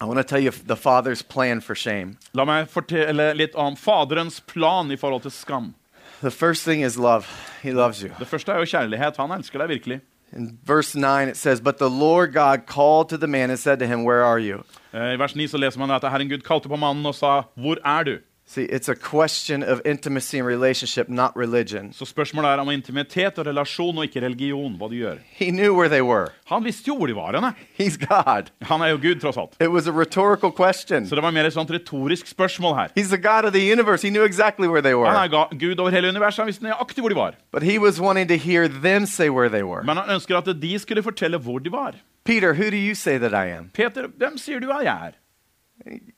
Speaker 2: I want to tell you the Father's plan for shame.
Speaker 3: La meg fortelle litt om Faderens plan i forhold til skam.
Speaker 2: The first thing is love. He loves you.
Speaker 3: Det første er jo kjærlighet. Han elsker deg virkelig.
Speaker 2: In verse 9, it says, But the Lord God called to the man and said to him, Where are you?
Speaker 3: Eh, I vers 9 så leser man at Herren Gud kalte på mannen og sa, 'Hvor er du?'
Speaker 2: See, it's a question of intimacy and relationship, not religion.
Speaker 3: Så spørsmålet er om intimitet og relasjon og ikke religion, hva du gjør.
Speaker 2: He knew where they were.
Speaker 3: Han visste jo hvor de var henne.
Speaker 2: He's God.
Speaker 3: Han er jo Gud, tross alt.
Speaker 2: It was a rhetorical question.
Speaker 3: Så det var mer et sånt retorisk spørsmål her.
Speaker 2: He's the God of the universe. He knew exactly where they
Speaker 3: Han
Speaker 2: were.
Speaker 3: er ga- Gud over hele universet. Han visste nøyaktig hvor de var.
Speaker 2: But he was wanting to hear them say where they were.
Speaker 3: Men han ønsker at de skulle fortelle hvor de var.
Speaker 2: Peter, who do you say that I am?
Speaker 3: Peter, hvem sier du at jeg er?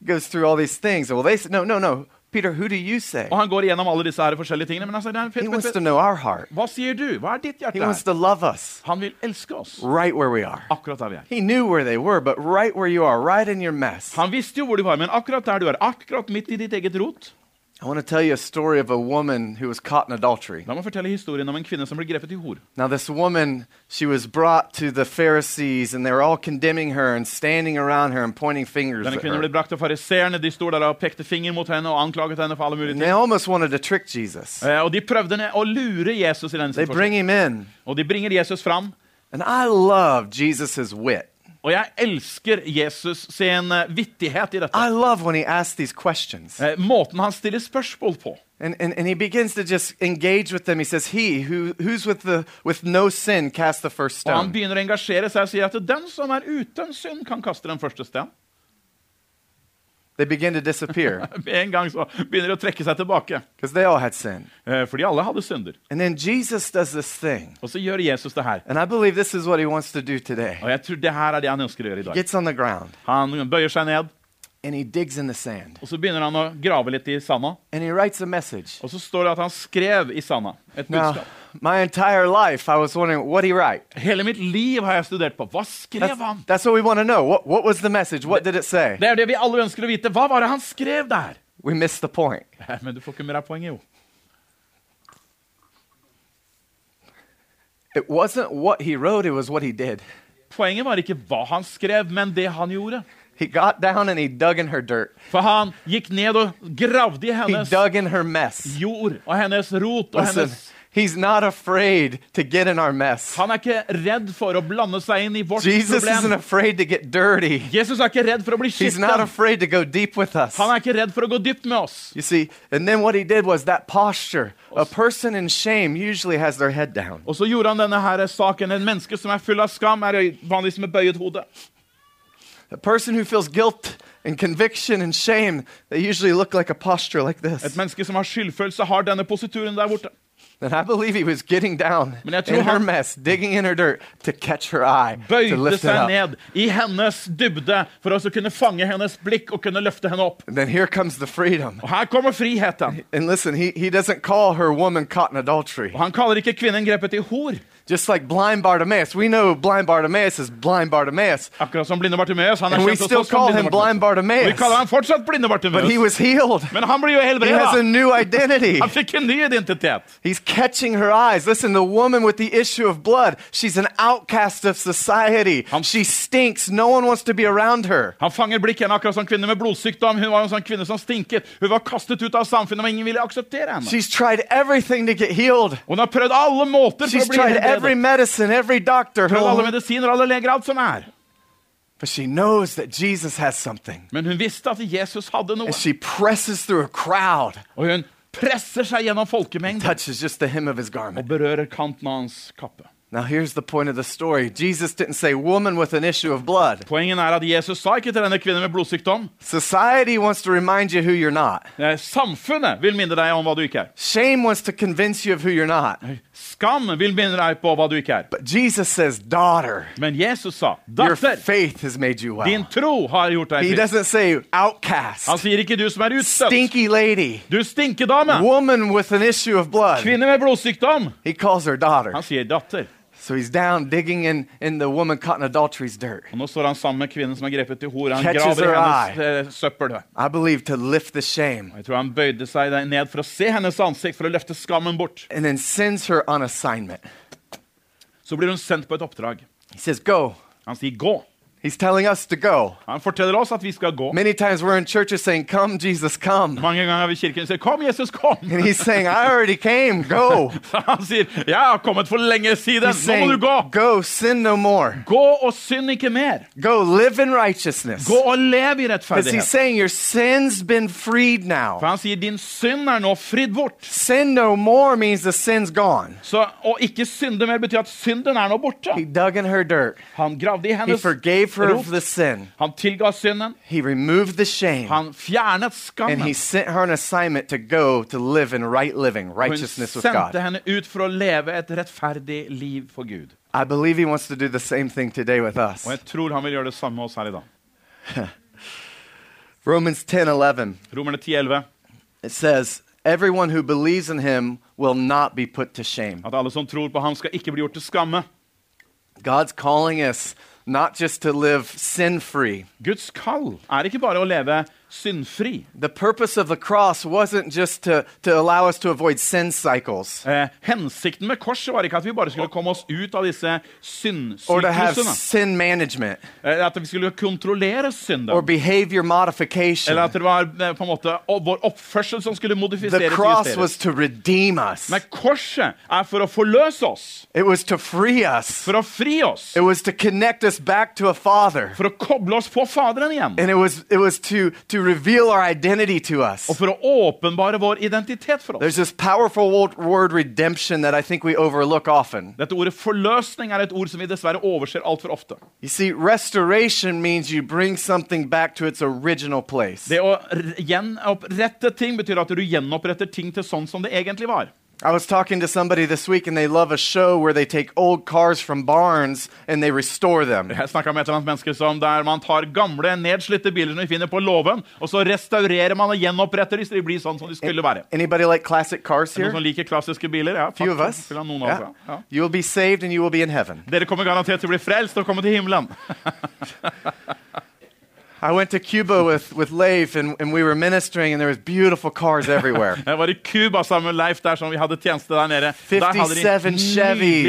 Speaker 2: Goes through all these things. Well, they said, No, no, no. Peter, who do you say?
Speaker 3: Og han går igjennom alle disse her forskjellige tingene. Men han sier, nei,
Speaker 2: He
Speaker 3: Peter,
Speaker 2: wants to
Speaker 3: Peter,
Speaker 2: know our heart.
Speaker 3: hva sier du? Hva er ditt
Speaker 2: He
Speaker 3: hjerte
Speaker 2: wants
Speaker 3: her?
Speaker 2: to love us
Speaker 3: Han vil elske oss
Speaker 2: right where we are.
Speaker 3: akkurat der vi er.
Speaker 2: He knew where they were, but right where you are, right in your mess.
Speaker 3: Han visste jo hvor de var, men akkurat der du er, akkurat midt i ditt eget rot
Speaker 2: I want to tell you a story of a woman who was caught in adultery.
Speaker 3: La meg fortelle historien om en kvinne som ble grepet i hor.
Speaker 2: Now, this woman, she was brought to the Pharisees, and they were all condemning her and standing around her and pointing fingers
Speaker 3: Denne
Speaker 2: at
Speaker 3: kvinnen
Speaker 2: her.
Speaker 3: ble brakt av fariseerne. De sto der og pekte finger mot henne og anklaget henne for alle mulige
Speaker 2: And
Speaker 3: ting.
Speaker 2: they almost wanted to trick Jesus.
Speaker 3: Eh, Og de prøvde ned å lure Jesus i denne
Speaker 2: They bring him
Speaker 3: situasjonen.
Speaker 2: in,
Speaker 3: Og de bringer Jesus fram.
Speaker 2: and I love Jesus' wit.
Speaker 3: Og jeg elsker Jesus sin eh, vittighet i dette.
Speaker 2: I love when he asks these questions.
Speaker 3: Eh, Måten han stiller spørsmål på.
Speaker 2: And, and, and he begins to just engage with them. He says, He who, who's with, the, with no sin cast the first
Speaker 3: Og han
Speaker 2: stone.
Speaker 3: begynner å engasjere seg og sier at den som er uten synd, kan kaste den første stein.
Speaker 2: They begin to disappear
Speaker 3: Med en gang så begynner de å trekke seg tilbake.
Speaker 2: because they all had sin.
Speaker 3: Eh, Fordi alle hadde synder.
Speaker 2: And then Jesus does this thing.
Speaker 3: Og så gjør Jesus det her.
Speaker 2: And I believe this is what he wants to do today.
Speaker 3: Og jeg tror det her er det han ønsker å gjøre i dag.
Speaker 2: Gets on the ground
Speaker 3: Han bøyer seg ned,
Speaker 2: and he digs in the sand
Speaker 3: og så begynner han å grave litt i sanda.
Speaker 2: and he writes a message.
Speaker 3: Og så står det at han skrev i sanda et
Speaker 2: Now,
Speaker 3: budskap.
Speaker 2: my entire life, I was wondering, what he write?
Speaker 3: Hele mitt liv har jeg studert på. Hva skrev
Speaker 2: That's,
Speaker 3: han?
Speaker 2: that's what we want to know. What, what was the message? What did it say?
Speaker 3: Det er det vi alle ønsker å vite. Hva var det han skrev der?
Speaker 2: We missed the point.
Speaker 3: Eh, Men du får ikke med deg poenget, jo.
Speaker 2: It wasn't what he wrote, it was what he did.
Speaker 3: Poenget var ikke hva han skrev, men det han gjorde.
Speaker 2: He got down and he dug in her dirt.
Speaker 3: For han gikk ned og gravde i
Speaker 2: He
Speaker 3: hennes
Speaker 2: dug in her mess.
Speaker 3: jord og hennes rot og
Speaker 2: Listen,
Speaker 3: hennes
Speaker 2: he's not afraid to get in our mess.
Speaker 3: Han er ikke redd for å blande seg inn i vårt
Speaker 2: Jesus isn't
Speaker 3: problem.
Speaker 2: afraid to get dirty.
Speaker 3: Jesus er ikke redd for å bli
Speaker 2: He's not
Speaker 3: skitten.
Speaker 2: afraid to go deep with us.
Speaker 3: Han er ikke redd for å gå dypt med oss.
Speaker 2: You see, and then what he did was that posture. A person in shame usually has their head down.
Speaker 3: Og så gjorde han denne her saken. En menneske som er full av skam, er øy- vanligvis med bøyet hode.
Speaker 2: A person who feels guilt and conviction and shame, they usually look like a posture like
Speaker 3: Et
Speaker 2: this.
Speaker 3: menneske som har skyldfølelse, har denne posituren der borte.
Speaker 2: then I believe he was getting down
Speaker 3: Men jeg tror
Speaker 2: in her
Speaker 3: han-
Speaker 2: mess, digging in her dirt to catch her eye, to
Speaker 3: Bøyde
Speaker 2: lift it
Speaker 3: seg
Speaker 2: up.
Speaker 3: ned i hennes dybde for å så kunne fange hennes blikk og kunne løfte henne opp.
Speaker 2: And then here comes the freedom.
Speaker 3: Og Her kommer friheten.
Speaker 2: And listen, he, he doesn't call her woman caught in adultery.
Speaker 3: Og han kaller ikke kvinnen grepet i hor,
Speaker 2: Just like blind Bartimaeus, we know blind Bartimaeus is blind Bartimaeus,
Speaker 3: akkurat som blinde Bartimeus. Han er
Speaker 2: and we
Speaker 3: kjent hos
Speaker 2: still
Speaker 3: oss som
Speaker 2: call him
Speaker 3: blinde
Speaker 2: blind
Speaker 3: Bartimeus. Og Vi kaller
Speaker 2: Bartimaeus.
Speaker 3: han fortsatt blinde
Speaker 2: But he
Speaker 3: Bartimeus.
Speaker 2: was healed.
Speaker 3: Men han blir jo
Speaker 2: He has a
Speaker 3: helbreda.
Speaker 2: new identity.
Speaker 3: *laughs* Han fikk en ny identitet.
Speaker 2: *laughs* He's catching her eyes. Listen, the woman with the issue of blood, she's an outcast of society.
Speaker 3: I'm-
Speaker 2: She stinks. No one wants to be around her.
Speaker 3: Han fanger blikket henne akkurat som kvinner med blodsykdom. Hun var jo en sånn kvinne som stinket. Hun var kastet ut av samfunnet, men ingen ville akseptere henne.
Speaker 2: She's tried everything to get healed.
Speaker 3: Hun har prøvd alle måter for
Speaker 2: She's
Speaker 3: å bli
Speaker 2: tried every
Speaker 3: helbredet.
Speaker 2: medicine, every doctor.
Speaker 3: Prøvd alle
Speaker 2: But
Speaker 3: medisiner, alle leger, alt som er.
Speaker 2: she knows that Jesus has something.
Speaker 3: Men hun visste at Jesus hadde noe,
Speaker 2: And she presses through a crowd,
Speaker 3: og hun presser seg gjennom folkemengden
Speaker 2: touches just the hem of his
Speaker 3: og
Speaker 2: garment.
Speaker 3: berører kanten av hans kappe.
Speaker 2: Now, here's the point of the story Jesus didn't say, woman with an issue of blood.
Speaker 3: Poenget er at Jesus sa ikke til denne kvinnen med blodsykdom
Speaker 2: Society wants to remind you who you're not,
Speaker 3: eh, Samfunnet vil minne deg om hva du ikke er.
Speaker 2: shame wants to convince you of who you're not.
Speaker 3: Skam vil minne deg på hva du ikke er.
Speaker 2: But Jesus says, daughter.
Speaker 3: Men Jesus sa,
Speaker 2: Your
Speaker 3: datter,
Speaker 2: faith has made you
Speaker 3: din
Speaker 2: well.
Speaker 3: tro har gjort deg
Speaker 2: He
Speaker 3: frisk.
Speaker 2: doesn't say
Speaker 3: Han
Speaker 2: outcast,
Speaker 3: sier ikke du som er utstøtt.
Speaker 2: stinky lady,
Speaker 3: Du stinkedame.
Speaker 2: woman with an issue of blood.
Speaker 3: Kvinne med blodsykdom.
Speaker 2: He calls her daughter.
Speaker 3: Han sier datter.
Speaker 2: So he's down digging in, in the woman caught in adultery's dirt.
Speaker 3: Og nå står han sammen med kvinnen som er grepet i hor. Han
Speaker 2: Catches
Speaker 3: graver i
Speaker 2: her
Speaker 3: hennes eh, søppel. Og
Speaker 2: I believe to lift the shame
Speaker 3: Jeg tror han bøyde seg der ned for å se hennes ansikt, for å løfte skammen bort.
Speaker 2: and then sends her on assignment.
Speaker 3: Så blir hun sendt på et oppdrag.
Speaker 2: He says, Go.
Speaker 3: Han sier gå.
Speaker 2: He's telling us to go.
Speaker 3: Han forteller oss at vi skal gå.
Speaker 2: Many times we're in churches saying, Come, Jesus, come.
Speaker 3: Mange ganger har vi i kirken sier 'Kom, Jesus, kom'. *laughs*
Speaker 2: And he's saying, I already came. *laughs* Go.
Speaker 3: Han sier 'Jeg har kommet for lenge siden.
Speaker 2: He's
Speaker 3: Nå må
Speaker 2: saying,
Speaker 3: du gå'.
Speaker 2: Go, sin no more.
Speaker 3: Gå og synd ikke mer.
Speaker 2: Go, live in righteousness.
Speaker 3: Gå og lev i
Speaker 2: Because he's
Speaker 3: rettferdighet.
Speaker 2: saying your sin's been freed
Speaker 3: For
Speaker 2: now.
Speaker 3: han sier 'Din synd er nå fridd bort'.
Speaker 2: Sin no more means the sin's gone.
Speaker 3: Så å ikke synde mer betyr at synden er nå borte.
Speaker 2: He dug in her dirt.
Speaker 3: Han gravde i
Speaker 2: He
Speaker 3: hennes
Speaker 2: forgave her
Speaker 3: rot.
Speaker 2: of the sin.
Speaker 3: Han tilga synden.
Speaker 2: He removed the shame.
Speaker 3: Han fjernet
Speaker 2: And he
Speaker 3: skammen.
Speaker 2: sent her an assignment to go to live in right living,
Speaker 3: Hun
Speaker 2: righteousness with
Speaker 3: sendte
Speaker 2: God.
Speaker 3: henne ut for å leve et rettferdig liv for Gud.
Speaker 2: I believe he wants to do the same thing today with us.
Speaker 3: Og jeg tror han vil gjøre det samme med oss her i dag.
Speaker 2: Romans 10 11.
Speaker 3: Romerne 10,11.
Speaker 2: It says, Everyone who believes in him will not be put to shame.
Speaker 3: At alle som tror på ham, skal ikke bli gjort til skamme.
Speaker 2: God's calling us not just to live sin free.
Speaker 3: Guds kall er ikke bare å leve syndfri.
Speaker 2: The purpose of the cross wasn't just to, to allow us to avoid sin cycles
Speaker 3: Eh, hensikten med korset var ikke at vi bare skulle komme oss ut av disse
Speaker 2: or to have
Speaker 3: syndsyklusene.
Speaker 2: sin management
Speaker 3: Eh, at vi skulle kontrollere synden.
Speaker 2: or behavior modification.
Speaker 3: Eller at det var eh, på en måte o- vår oppførsel som skulle modifiseres.
Speaker 2: The
Speaker 3: og
Speaker 2: cross
Speaker 3: justeres.
Speaker 2: was to redeem us,
Speaker 3: Men korset er for å forløse oss,
Speaker 2: it was to free us,
Speaker 3: for å fri oss,
Speaker 2: it was to connect us back to a Father.
Speaker 3: for å koble oss på Faderen igjen.
Speaker 2: And it was, it was to, to reveal our identity to us.
Speaker 3: Og for å åpenbare vår identitet for
Speaker 2: There's
Speaker 3: oss.
Speaker 2: this powerful wo- word redemption that I think we overlook often.
Speaker 3: Dette ordet forløsning er et ord som vi dessverre overser altfor ofte.
Speaker 2: You see, restoration means you bring something back to its original place.
Speaker 3: Det å r- gjenopprette ting betyr at du gjenoppretter ting til sånn som det egentlig var.
Speaker 2: I was talking to somebody this week and they love a show where they take old cars from barns and they restore them.
Speaker 3: Jeg snakka med et eller annet menneske som der man tar gamle, nedslitte biler som vi finner på låven, og så restaurerer man og gjenoppretter dem så de blir sånn som de skulle være.
Speaker 2: Anybody like classic cars
Speaker 3: Noen som
Speaker 2: here?
Speaker 3: liker klassiske biler? Ja,
Speaker 2: Few of us.
Speaker 3: faktisk, Noen av
Speaker 2: Yeah.
Speaker 3: oss, ja. ja.
Speaker 2: You will be saved and you will be in heaven.
Speaker 3: Dere kommer garantert til å bli frelst og komme til himmelen.
Speaker 2: I went to Cuba with, with Leif and, and we were ministering and there was beautiful cars *laughs* everywhere.
Speaker 3: Jeg var i Cuba sammen med Leif der som vi hadde tjeneste der nede. der hadde
Speaker 2: 57
Speaker 3: nydelige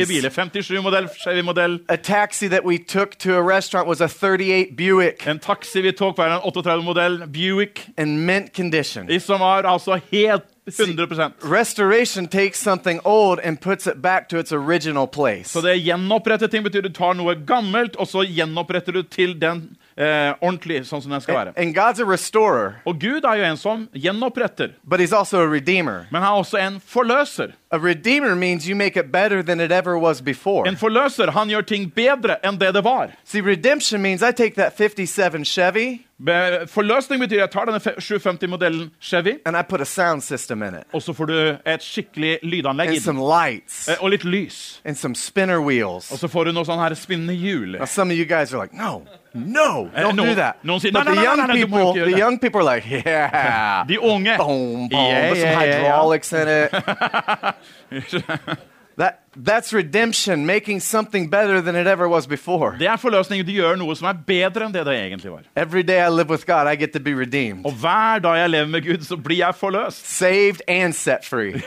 Speaker 2: Chevys.
Speaker 3: biler. 57-modell, Chevy-modell.
Speaker 2: a taxi that we took to a restaurant was a 38 Buick
Speaker 3: En taxi vi tok var en 38-modell Buick,
Speaker 2: in mint condition.
Speaker 3: i som var altså helt 100
Speaker 2: Restoration takes something old and puts it back to its original place.
Speaker 3: Så det gjenopprette ting betyr du tar noe gammelt, og så gjenoppretter du til den eh, ordentlig sånn som den skal være.
Speaker 2: And God's a restorer,
Speaker 3: Og Gud er jo en som gjenoppretter,
Speaker 2: but He's also a redeemer.
Speaker 3: men han er også en forløser.
Speaker 2: A redeemer means you make it better than it ever was before.
Speaker 3: En forløser, han gjør ting bedre enn det det var.
Speaker 2: See, redemption means I take that 57 Chevy
Speaker 3: Be- Forløsning betyr jeg tar denne fe- 750-modellen Chevy,
Speaker 2: and I put a sound system in it,
Speaker 3: og så får du et skikkelig lydanlegg
Speaker 2: and
Speaker 3: i den.
Speaker 2: some lights,
Speaker 3: Eh, Oh, Og litt lys.
Speaker 2: and some spinner
Speaker 3: Og
Speaker 2: wheels.
Speaker 3: så får du noe sånn her spinnende hjul.
Speaker 2: Now, some of you guys are like, no, no, don't
Speaker 3: Eh, no-
Speaker 2: do that.
Speaker 3: no one's saying,
Speaker 2: But
Speaker 3: no,
Speaker 2: the
Speaker 3: no, no, no,
Speaker 2: young
Speaker 3: no, you
Speaker 2: people,
Speaker 3: won't do
Speaker 2: the
Speaker 3: that.
Speaker 2: young people are like, *laughs*
Speaker 3: *laughs*
Speaker 2: yeah.
Speaker 3: De unge.
Speaker 2: boom, boom,
Speaker 3: Yeah,
Speaker 2: with some
Speaker 3: yeah, yeah, yeah.
Speaker 2: hydraulics in it.
Speaker 3: *laughs*
Speaker 2: that that's redemption, making something better than it ever was before.
Speaker 3: Det er forløsning. Du gjør noe som er bedre enn det det egentlig var.
Speaker 2: Every day I live with God, I get to be redeemed,
Speaker 3: Og hver dag jeg lever med Gud, så blir jeg forløst.
Speaker 2: saved and set
Speaker 3: *laughs*
Speaker 2: free,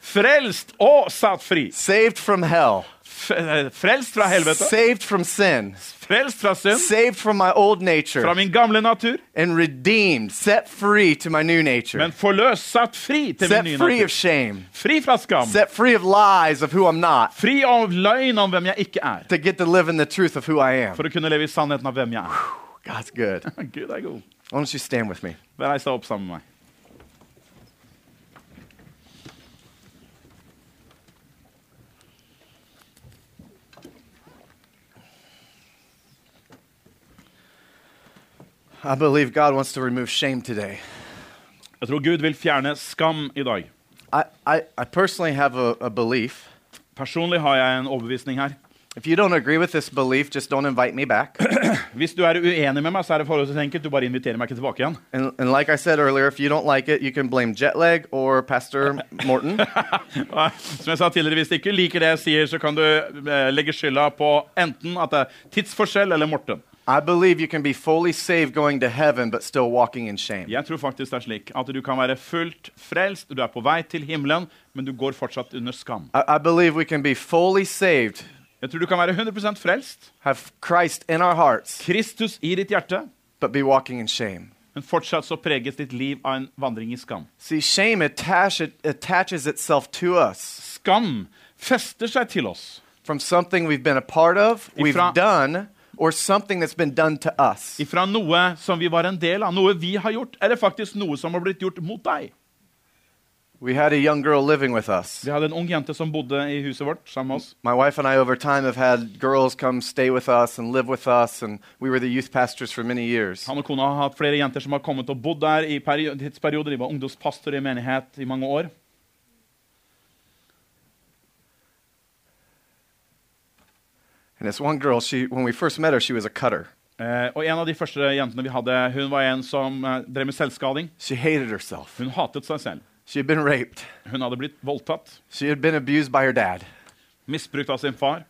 Speaker 3: Frelst og satt fri.
Speaker 2: saved from hell,
Speaker 3: F- eh, Frelst fra helvete.
Speaker 2: saved from sin,
Speaker 3: Frelst fra synd.
Speaker 2: saved from my old
Speaker 3: Fra
Speaker 2: nature,
Speaker 3: min gamle natur.
Speaker 2: and redeemed, set free to my new
Speaker 3: Men
Speaker 2: nature,
Speaker 3: forløst, satt fri til
Speaker 2: set
Speaker 3: min nye
Speaker 2: free of
Speaker 3: natur.
Speaker 2: shame,
Speaker 3: Fri fra skam.
Speaker 2: set free of lies of who I'm not,
Speaker 3: Fri av løgn om hvem jeg ikke er.
Speaker 2: to get to live in the truth of who I am.
Speaker 3: For å kunne leve i sannheten av hvem jeg er.
Speaker 2: God's good. Why
Speaker 3: Gud er god.
Speaker 2: don't you stand with me?
Speaker 3: Reis deg opp sammen med meg.
Speaker 2: I believe God wants to remove shame today.
Speaker 3: Jeg tror Gud vil fjerne skam i dag.
Speaker 2: I, I, I personally have a, a belief.
Speaker 3: Personlig har jeg en overbevisning her.
Speaker 2: If you don't agree with this belief, just don't invite me back. *coughs*
Speaker 3: Hvis du er uenig med meg, så er det forholdsvis enkelt. Du bare inviterer meg ikke tilbake igjen.
Speaker 2: and, and like I said earlier, if you don't like it, you can blame jet lag or Pastor Morton.
Speaker 3: Og Som jeg sa tidligere, Hvis du ikke liker det jeg sier, så kan du eh, legge skylda på enten at det er tidsforskjell eller Morten.
Speaker 2: I believe you can be fully saved going to heaven, but still walking in shame.
Speaker 3: Jeg tror faktisk det er slik at du kan være fullt frelst, du er på vei til himmelen, men du går fortsatt under skam.
Speaker 2: I, I believe we can be fully saved,
Speaker 3: Jeg tror du kan være 100 frelst,
Speaker 2: have Christ in our hearts,
Speaker 3: Kristus i ditt hjerte,
Speaker 2: but be walking in shame.
Speaker 3: men fortsatt så preges ditt liv av en vandring i skam.
Speaker 2: See, shame attach, it attaches itself to us
Speaker 3: Skam fester seg til oss
Speaker 2: from something we've been a part of, we've
Speaker 3: Ifra-
Speaker 2: done, or something that's been done to us.
Speaker 3: ifra noe som vi var en del av, noe vi har gjort, eller faktisk noe som har blitt gjort mot deg.
Speaker 2: We had a young girl living with us.
Speaker 3: Vi hadde en ung jente som bodde i huset vårt sammen med oss.
Speaker 2: My wife and I, over time, have had girls come stay with us and live with us, and we were the youth pastors for many years.
Speaker 3: Han og kona har hatt flere jenter som har kommet og bodd der i perio- tidsperioder. De var ungdomspastor i menighet i mange år.
Speaker 2: And this one girl, she, when we first met her, she was a cutter.
Speaker 3: Eh, og en av de første jentene vi hadde, hun var en som eh, drev med selvskading.
Speaker 2: She hated herself.
Speaker 3: Hun hatet seg selv.
Speaker 2: She had been raped.
Speaker 3: Hun hadde blitt voldtatt,
Speaker 2: She had been abused by her dad.
Speaker 3: misbrukt av sin far.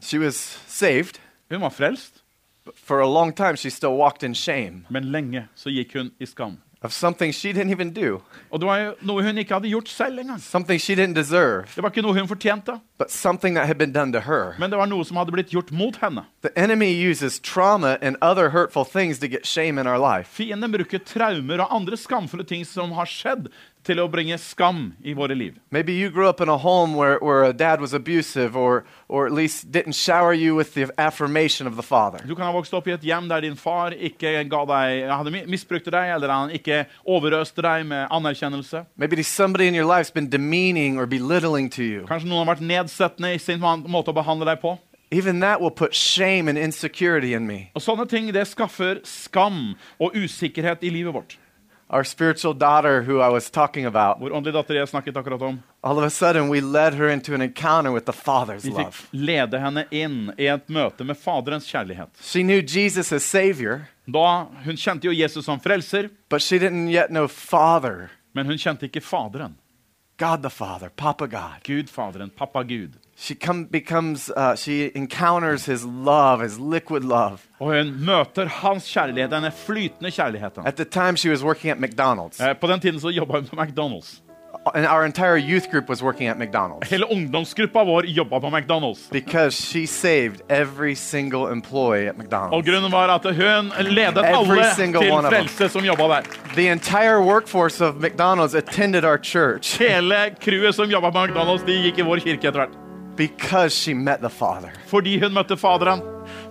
Speaker 2: She was saved,
Speaker 3: Hun var frelst,
Speaker 2: but for a long time, she still walked in shame
Speaker 3: men lenge så gikk hun i skam.
Speaker 2: of something she didn't even do,
Speaker 3: Og det var jo noe hun ikke hadde gjort selv engang.
Speaker 2: something she didn't deserve,
Speaker 3: Det var ikke noe hun fortjente,
Speaker 2: but something that had been done to her.
Speaker 3: men det var noe som hadde blitt gjort mot henne.
Speaker 2: The enemy uses trauma and other hurtful things to get shame in our life.
Speaker 3: Fienden bruker traumer og andre skamfulle ting som har skjedd, til å bringe skam i våre liv.
Speaker 2: Maybe you grew up in a home where, where a dad was abusive or, or at least didn't shower you with the affirmation of the father.
Speaker 3: Du kan ha vokst opp i et hjem der din far ikke ga deg, hadde mi- misbrukte deg, eller han ikke overøste deg med anerkjennelse.
Speaker 2: Maybe there's somebody in your life's been demeaning or belittling to you.
Speaker 3: Kanskje noen har vært nedsettende i sin man- måte å behandle deg på.
Speaker 2: Even that will put shame and insecurity in me.
Speaker 3: Og Sånne ting det skaffer skam og usikkerhet i livet vårt.
Speaker 2: Our spiritual daughter, who I was talking about,
Speaker 3: Vår åndelige datter jeg snakket akkurat om,
Speaker 2: all of a sudden we led her into an encounter with the father's
Speaker 3: vi fikk
Speaker 2: love.
Speaker 3: lede henne inn i et møte med Faderens kjærlighet.
Speaker 2: She knew Jesus as Savior,
Speaker 3: Da, Hun kjente jo Jesus som frelser,
Speaker 2: but she didn't yet know Father,
Speaker 3: men hun kjente ikke Faderen.
Speaker 2: God the Father, Papa God.
Speaker 3: Gud Faderen, pappa Gud.
Speaker 2: She come, becomes, uh, she encounters his love, his liquid love.
Speaker 3: Og hun møter hans kjærlighet, denne flytende kjærligheten.
Speaker 2: At the time, she was working at McDonald's,
Speaker 3: Eh, På den tiden så jobba hun på McDonald's.
Speaker 2: and our entire youth group was working at McDonald's
Speaker 3: Hele ungdomsgruppa vår jobba på McDonald's.
Speaker 2: because she saved every single employee at
Speaker 3: Og
Speaker 2: McDonald's.
Speaker 3: grunnen var at hun ledet
Speaker 2: Every
Speaker 3: alle
Speaker 2: single
Speaker 3: til
Speaker 2: one of them.
Speaker 3: frelse som jobba der.
Speaker 2: The entire workforce of McDonald's attended our church
Speaker 3: Hele crewet som jobba på McDonald's, de gikk i vår kirke etter hvert.
Speaker 2: because she met the Father.
Speaker 3: Fordi hun møtte Faderen.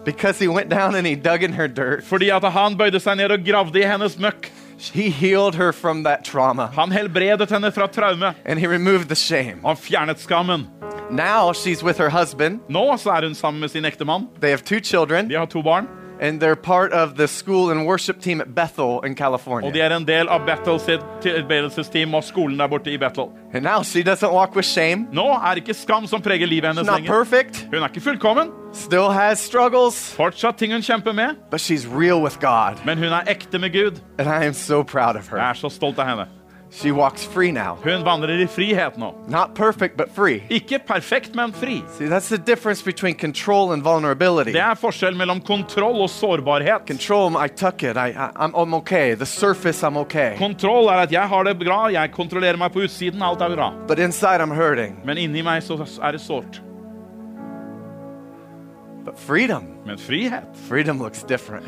Speaker 2: Because he went down and he dug in her dirt.
Speaker 3: Fordi at han bøyde seg ned og gravde i hennes møkk.
Speaker 2: He healed her from that trauma
Speaker 3: Han helbredet henne fra traume.
Speaker 2: and he removed the shame.
Speaker 3: Han fjernet skammen.
Speaker 2: Now she's with her husband.
Speaker 3: Nå så er hun sammen med sin ektemann.
Speaker 2: They have two children
Speaker 3: De har to barn.
Speaker 2: and they're part of the school and worship team at Bethel in
Speaker 3: Og de
Speaker 2: California.
Speaker 3: er en del av Bethel sitt tilbedelsesteam og skolen der borte i Bethel.
Speaker 2: And now she doesn't walk with shame.
Speaker 3: Nå er det ikke skam som preger livet hennes
Speaker 2: Not
Speaker 3: lenger.
Speaker 2: perfect,
Speaker 3: Hun er ikke fullkommen.
Speaker 2: still has struggles,
Speaker 3: Fortsatt ting hun kjemper med,
Speaker 2: but she's real with God.
Speaker 3: men hun er ekte med Gud.
Speaker 2: And I am so proud of
Speaker 3: Jeg
Speaker 2: her.
Speaker 3: er så stolt av henne.
Speaker 2: She walks free now.
Speaker 3: Hun vandrer i frihet nå.
Speaker 2: Not perfect, but free.
Speaker 3: Ikke perfekt, men fri.
Speaker 2: See, that's the difference between control and vulnerability.
Speaker 3: Det er forskjell mellom kontroll og sårbarhet.
Speaker 2: Control, I tuck it. I, I, I'm, I'm okay. The surface, I'm okay.
Speaker 3: Kontroll er at jeg har det bra, jeg kontrollerer meg på utsiden, alt er bra.
Speaker 2: But inside, I'm hurting.
Speaker 3: Men inni meg så er det sårt.
Speaker 2: But freedom,
Speaker 3: Men frihet *laughs*
Speaker 2: freedom looks different.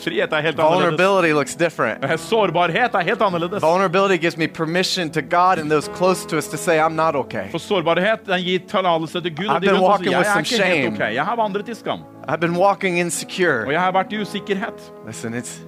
Speaker 3: Frihet er helt annerledes.
Speaker 2: Vulnerability looks different.
Speaker 3: Sårbarhet er helt annerledes.
Speaker 2: Vulnerability gives me permission to God and those close to us to say, I'm not okay.
Speaker 3: For sårbarhet den gir tillatelse til Gud.
Speaker 2: I've
Speaker 3: Og de
Speaker 2: been
Speaker 3: rundt oss
Speaker 2: walking
Speaker 3: sier,
Speaker 2: with
Speaker 3: jeg er
Speaker 2: some
Speaker 3: ikke helt
Speaker 2: shame."
Speaker 3: ok. Jeg har vandret i skam.
Speaker 2: I've been walking insecure.
Speaker 3: Og jeg har vært i usikkerhet.
Speaker 2: Listen, it's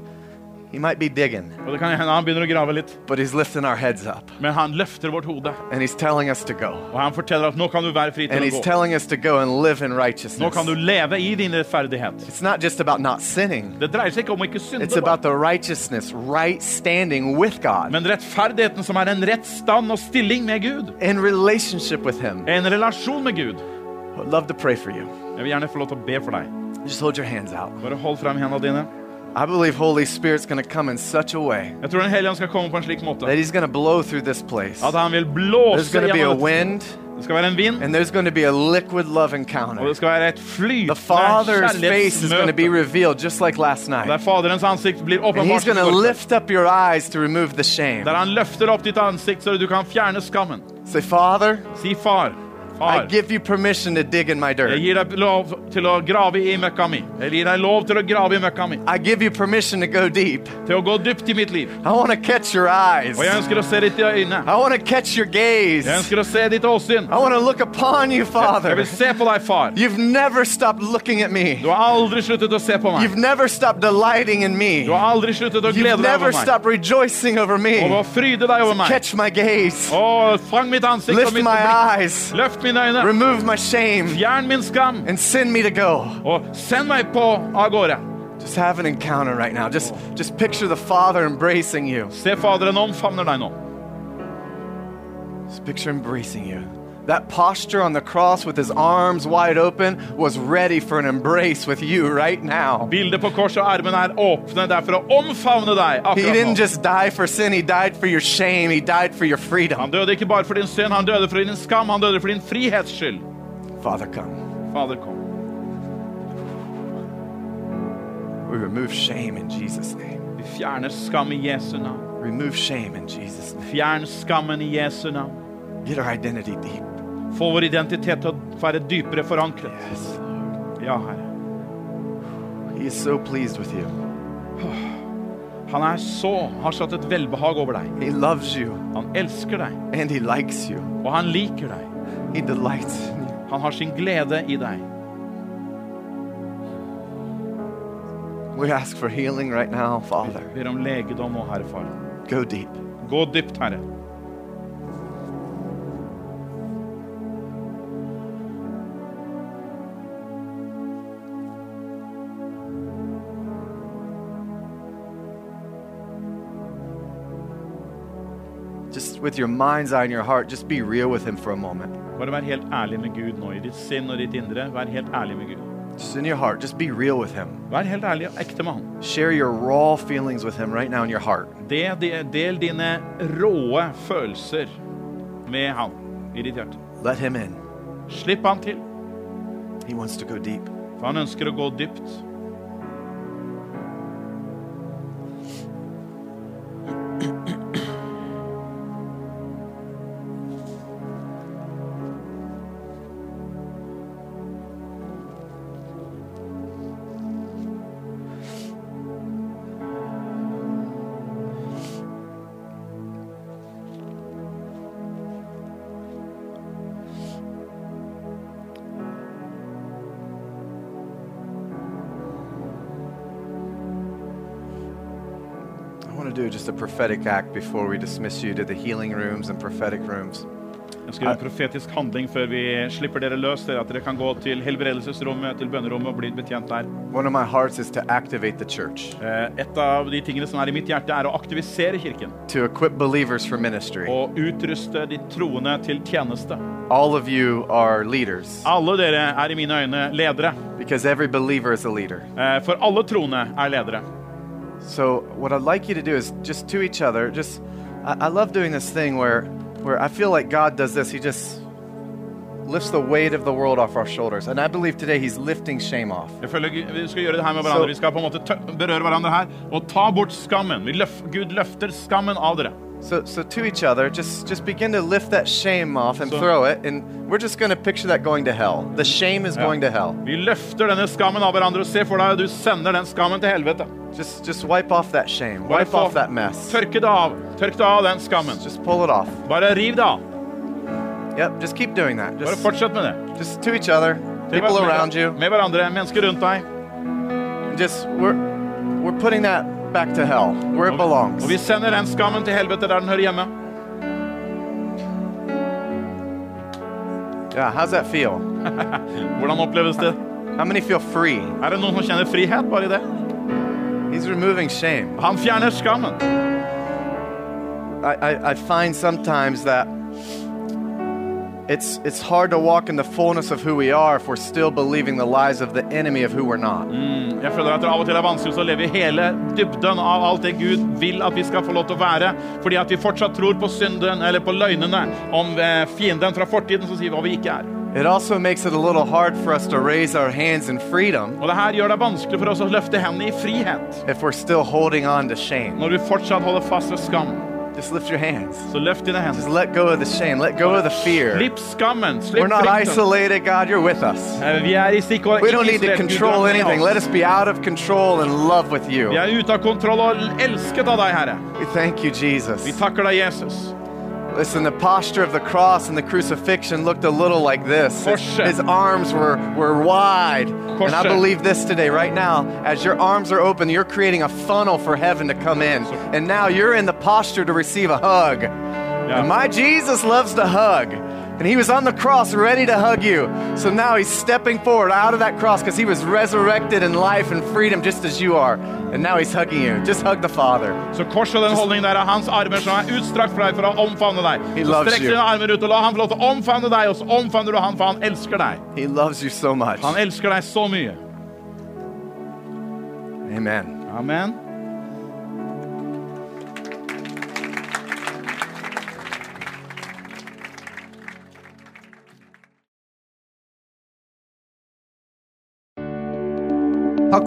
Speaker 2: he might be digging,
Speaker 3: Og det kan hende han begynner å grave litt.
Speaker 2: but he's lifting our heads up
Speaker 3: Men han løfter vårt hode.
Speaker 2: and he's telling us to go.
Speaker 3: Og han forteller at nå kan du være fri
Speaker 2: And
Speaker 3: til å
Speaker 2: he's
Speaker 3: gå.
Speaker 2: telling us to go and live in
Speaker 3: Nå kan du
Speaker 2: righteousness.
Speaker 3: leve i din rettferdighet.
Speaker 2: It's not just about not sinning.
Speaker 3: Det dreier seg ikke om å ikke synde,
Speaker 2: It's
Speaker 3: bare.
Speaker 2: about the righteousness, right standing with God,
Speaker 3: men rettferdigheten som er en rett stand og stilling med Gud.
Speaker 2: in relationship with Him.
Speaker 3: En relasjon med Gud.
Speaker 2: I'd love to pray for you.
Speaker 3: Jeg vil gjerne få lov til å be for deg.
Speaker 2: Just hold your hands out.
Speaker 3: Bare hold frem hendene dine.
Speaker 2: I believe Holy Spirit's going to come in such a way
Speaker 3: Jeg tror Den hellige ånd skal komme på en slik måte
Speaker 2: that He's going to blow through this place.
Speaker 3: at han vil
Speaker 2: There's
Speaker 3: blåse
Speaker 2: going to be a
Speaker 3: gjennom et-
Speaker 2: wind,
Speaker 3: Det skal være en vind,
Speaker 2: and there's going to be a liquid love
Speaker 3: og
Speaker 2: encounter.
Speaker 3: det skal være et
Speaker 2: The
Speaker 3: flytende
Speaker 2: Father's face is going to be
Speaker 3: kjærlighetsmøte.
Speaker 2: revealed just like last night.
Speaker 3: Der Faderens ansikt blir
Speaker 2: And
Speaker 3: åpenbart.
Speaker 2: he's going to
Speaker 3: for deg.
Speaker 2: lift up your eyes to remove the shame.
Speaker 3: Der han løfter opp ditt ansikt så du kan fjerne skammen.
Speaker 2: Say, Father,
Speaker 3: Si far.
Speaker 2: I
Speaker 3: Far.
Speaker 2: give you permission to dig in my
Speaker 3: Jeg
Speaker 2: dirt.
Speaker 3: gir deg lov til å grave i møkka mi. Jeg gir deg lov til å grave i møkka mi.
Speaker 2: I give you permission to go deep.
Speaker 3: Til å gå dypt i mitt liv.
Speaker 2: I want to catch your eyes.
Speaker 3: Og jeg ønsker å se ditt i øynene.
Speaker 2: I want to catch your gaze.
Speaker 3: Jeg
Speaker 2: I
Speaker 3: ønsker å se ditt åsyn.
Speaker 2: want to look upon you,
Speaker 3: Jeg
Speaker 2: Father.
Speaker 3: vil se på deg, far.
Speaker 2: You've never stopped looking at me.
Speaker 3: Du har aldri sluttet å se på meg.
Speaker 2: You've never stopped delighting in me.
Speaker 3: Du har aldri sluttet å
Speaker 2: You've
Speaker 3: glede deg
Speaker 2: never
Speaker 3: over meg.
Speaker 2: stopped rejoicing over
Speaker 3: Og å
Speaker 2: me.
Speaker 3: fryde deg over meg.
Speaker 2: Catch my gaze.
Speaker 3: Å, fang mitt ansikt og
Speaker 2: Lift
Speaker 3: mitt
Speaker 2: my
Speaker 3: blikk.
Speaker 2: eyes.
Speaker 3: Løft mine øyne.
Speaker 2: Remove my shame.
Speaker 3: Fjern min skam.
Speaker 2: And send me to go.
Speaker 3: Og send meg på av gårde.
Speaker 2: Just have an encounter right now. Just, just picture the Father embracing you.
Speaker 3: Se Faderen omfavner deg nå.
Speaker 2: Just picture embracing you. That posture on the cross with his arms wide open was ready for an embrace with you right now.
Speaker 3: Bildet på korset og armen er åpne der for å omfavne deg
Speaker 2: He didn't
Speaker 3: akkurat nå.
Speaker 2: just die for sin, he died for your shame, he died for your
Speaker 3: Han
Speaker 2: freedom.
Speaker 3: døde ikke bare for din synd, han døde for din skam, han døde for din frihets skyld.
Speaker 2: Father, come.
Speaker 3: Fader, kom.
Speaker 2: We remove shame in Jesus' name.
Speaker 3: Vi fjerner skam i Jesu navn.
Speaker 2: Remove shame in Jesus' name.
Speaker 3: Fjern skammen i Jesu navn.
Speaker 2: Get our identity deep.
Speaker 3: Få vår identitet til å være dypere forankret.
Speaker 2: Yes.
Speaker 3: Ja, Herre.
Speaker 2: He is so pleased with you.
Speaker 3: Han er så, har satt et velbehag over deg.
Speaker 2: He loves you
Speaker 3: Han elsker deg,
Speaker 2: and he likes you.
Speaker 3: og han liker deg.
Speaker 2: He delights in you.
Speaker 3: Han har sin glede i deg.
Speaker 2: We ask for healing right now, Father.
Speaker 3: Ber om legedom nå, Herre Far.
Speaker 2: Go deep.
Speaker 3: Gå dypt, Herre.
Speaker 2: Just with your mind's eye and your heart, just be real with him for a moment.
Speaker 3: Bare vær helt ærlig med Gud nå, i ditt sinn og ditt indre. Vær helt ærlig med Gud.
Speaker 2: Just in your heart, just be real with Him.
Speaker 3: Vær helt ærlig og ekte med Han.
Speaker 2: Share your raw feelings with Him right now in your heart.
Speaker 3: Det- det- Del dine råe følelser med Han i ditt hjerte.
Speaker 2: Let Him in.
Speaker 3: Slipp Han til,
Speaker 2: He wants to go deep.
Speaker 3: for Han ønsker å gå dypt.
Speaker 2: to do just a prophetic act before we dismiss you to the healing rooms and prophetic rooms.
Speaker 3: Jeg skal gjøre en profetisk handling før vi slipper dere løs, dere at dere kan gå til helbredelsesrommet, til bønnerommet og bli betjent der.
Speaker 2: One of my hearts is to activate the church,
Speaker 3: Eh, Et av de tingene som er i mitt hjerte, er å aktivisere kirken
Speaker 2: to equip believers for ministry.
Speaker 3: og utruste de troende til tjeneste.
Speaker 2: All of you are leaders
Speaker 3: Alle dere er i mine øyne ledere,
Speaker 2: because every believer is a leader.
Speaker 3: eh, for alle troende er ledere.
Speaker 2: So what I'd like you to do is just to each other, just I, I love doing this thing where where I feel like God does this. He just lifts the weight of the world off our shoulders. And I believe today he's lifting shame off.
Speaker 3: Jeg føler Gud- Vi skal gjøre det her med hverandre.
Speaker 2: Så-
Speaker 3: Vi skal på en måte tø- berøre hverandre her og ta bort skammen. Vi løf, Gud løfter skammen av dere.
Speaker 2: So so to each other, just just begin to lift that shame off and
Speaker 3: So-
Speaker 2: throw it and we're just going to picture that going to hell. The shame is going to hell.
Speaker 3: Vi løfter denne skammen av hverandre. og Se for deg, du sender den skammen til helvete.
Speaker 2: Just just wipe off that shame. Wipe, off, that mess.
Speaker 3: Tørke det av. Tørk det av, den skammen.
Speaker 2: Just pull it off.
Speaker 3: Bare riv det av.
Speaker 2: Yep, just keep doing that.
Speaker 3: Bare
Speaker 2: Just,
Speaker 3: fortsett med det.
Speaker 2: just to each other,
Speaker 3: Til
Speaker 2: people
Speaker 3: hver-
Speaker 2: around you.
Speaker 3: Med hverandre, mennesker rundt deg.
Speaker 2: Just we're we're putting that back to hell where it belongs.
Speaker 3: Og vi sender den skammen til helvete der den hører hjemme.
Speaker 2: Yeah, how's that feel?
Speaker 3: Hvordan oppleves det?
Speaker 2: How many feel free?
Speaker 3: Er det noen som kjenner frihet bare i det?
Speaker 2: He's removing shame.
Speaker 3: Han fjerner skammen.
Speaker 2: I, I, I find sometimes that it's it's hard to walk in the fullness of who we are if we're still believing the lies of the enemy of who we're not.
Speaker 3: Jeg føler at det av og til er vanskelig å leve i hele dybden av alt det Gud vil at vi skal få lov til å være, fordi at vi fortsatt tror på synden eller på løgnene om eh, fienden fra fortiden som sier hva vi ikke er.
Speaker 2: It also makes it a little hard for us to raise our hands in freedom
Speaker 3: Og det her gjør det vanskelig for oss å løfte hendene i frihet
Speaker 2: if we're still holding on to shame.
Speaker 3: når vi fortsatt holder fast ved skam.
Speaker 2: Just lift your hands.
Speaker 3: Så løft dine
Speaker 2: Just
Speaker 3: hender.
Speaker 2: let go of the shame. Let go of the fear.
Speaker 3: Slipp skammen.
Speaker 2: We're
Speaker 3: Slipp
Speaker 2: not
Speaker 3: frykten.
Speaker 2: isolated, God. You're with us.
Speaker 3: Eh, Vi er i stikkord.
Speaker 2: We don't need to control anything. Let us be out of control and in love with
Speaker 3: Vi
Speaker 2: you.
Speaker 3: er ute av kontroll og elsket av deg, Herre.
Speaker 2: We thank you, Jesus.
Speaker 3: Vi takker deg, Jesus.
Speaker 2: Listen, the posture of the cross and the crucifixion looked a little like this. His,
Speaker 3: Korset.
Speaker 2: his arms were, were wide. And I
Speaker 3: Korset.
Speaker 2: believe this today, right now, as your arms are open, you're creating a funnel for heaven to come in. And now you're in the posture to receive a hug. And my Jesus loves to hug. And he was on the cross ready to hug you. So now he's stepping forward out of that cross because he was resurrected in life and freedom just as you are. And now he's hugging you. Just hug the Father.
Speaker 3: Så korset og den holdningen der er hans armer som er utstrakt for deg for å omfavne deg.
Speaker 2: He
Speaker 3: Så
Speaker 2: loves
Speaker 3: strekk
Speaker 2: you.
Speaker 3: dine armer ut og la ham få lov til å omfavne deg, og så omfavner du han, for han elsker deg.
Speaker 2: He loves you so much.
Speaker 3: Han elsker deg så mye.
Speaker 2: Amen.
Speaker 3: Amen.
Speaker 1: Takk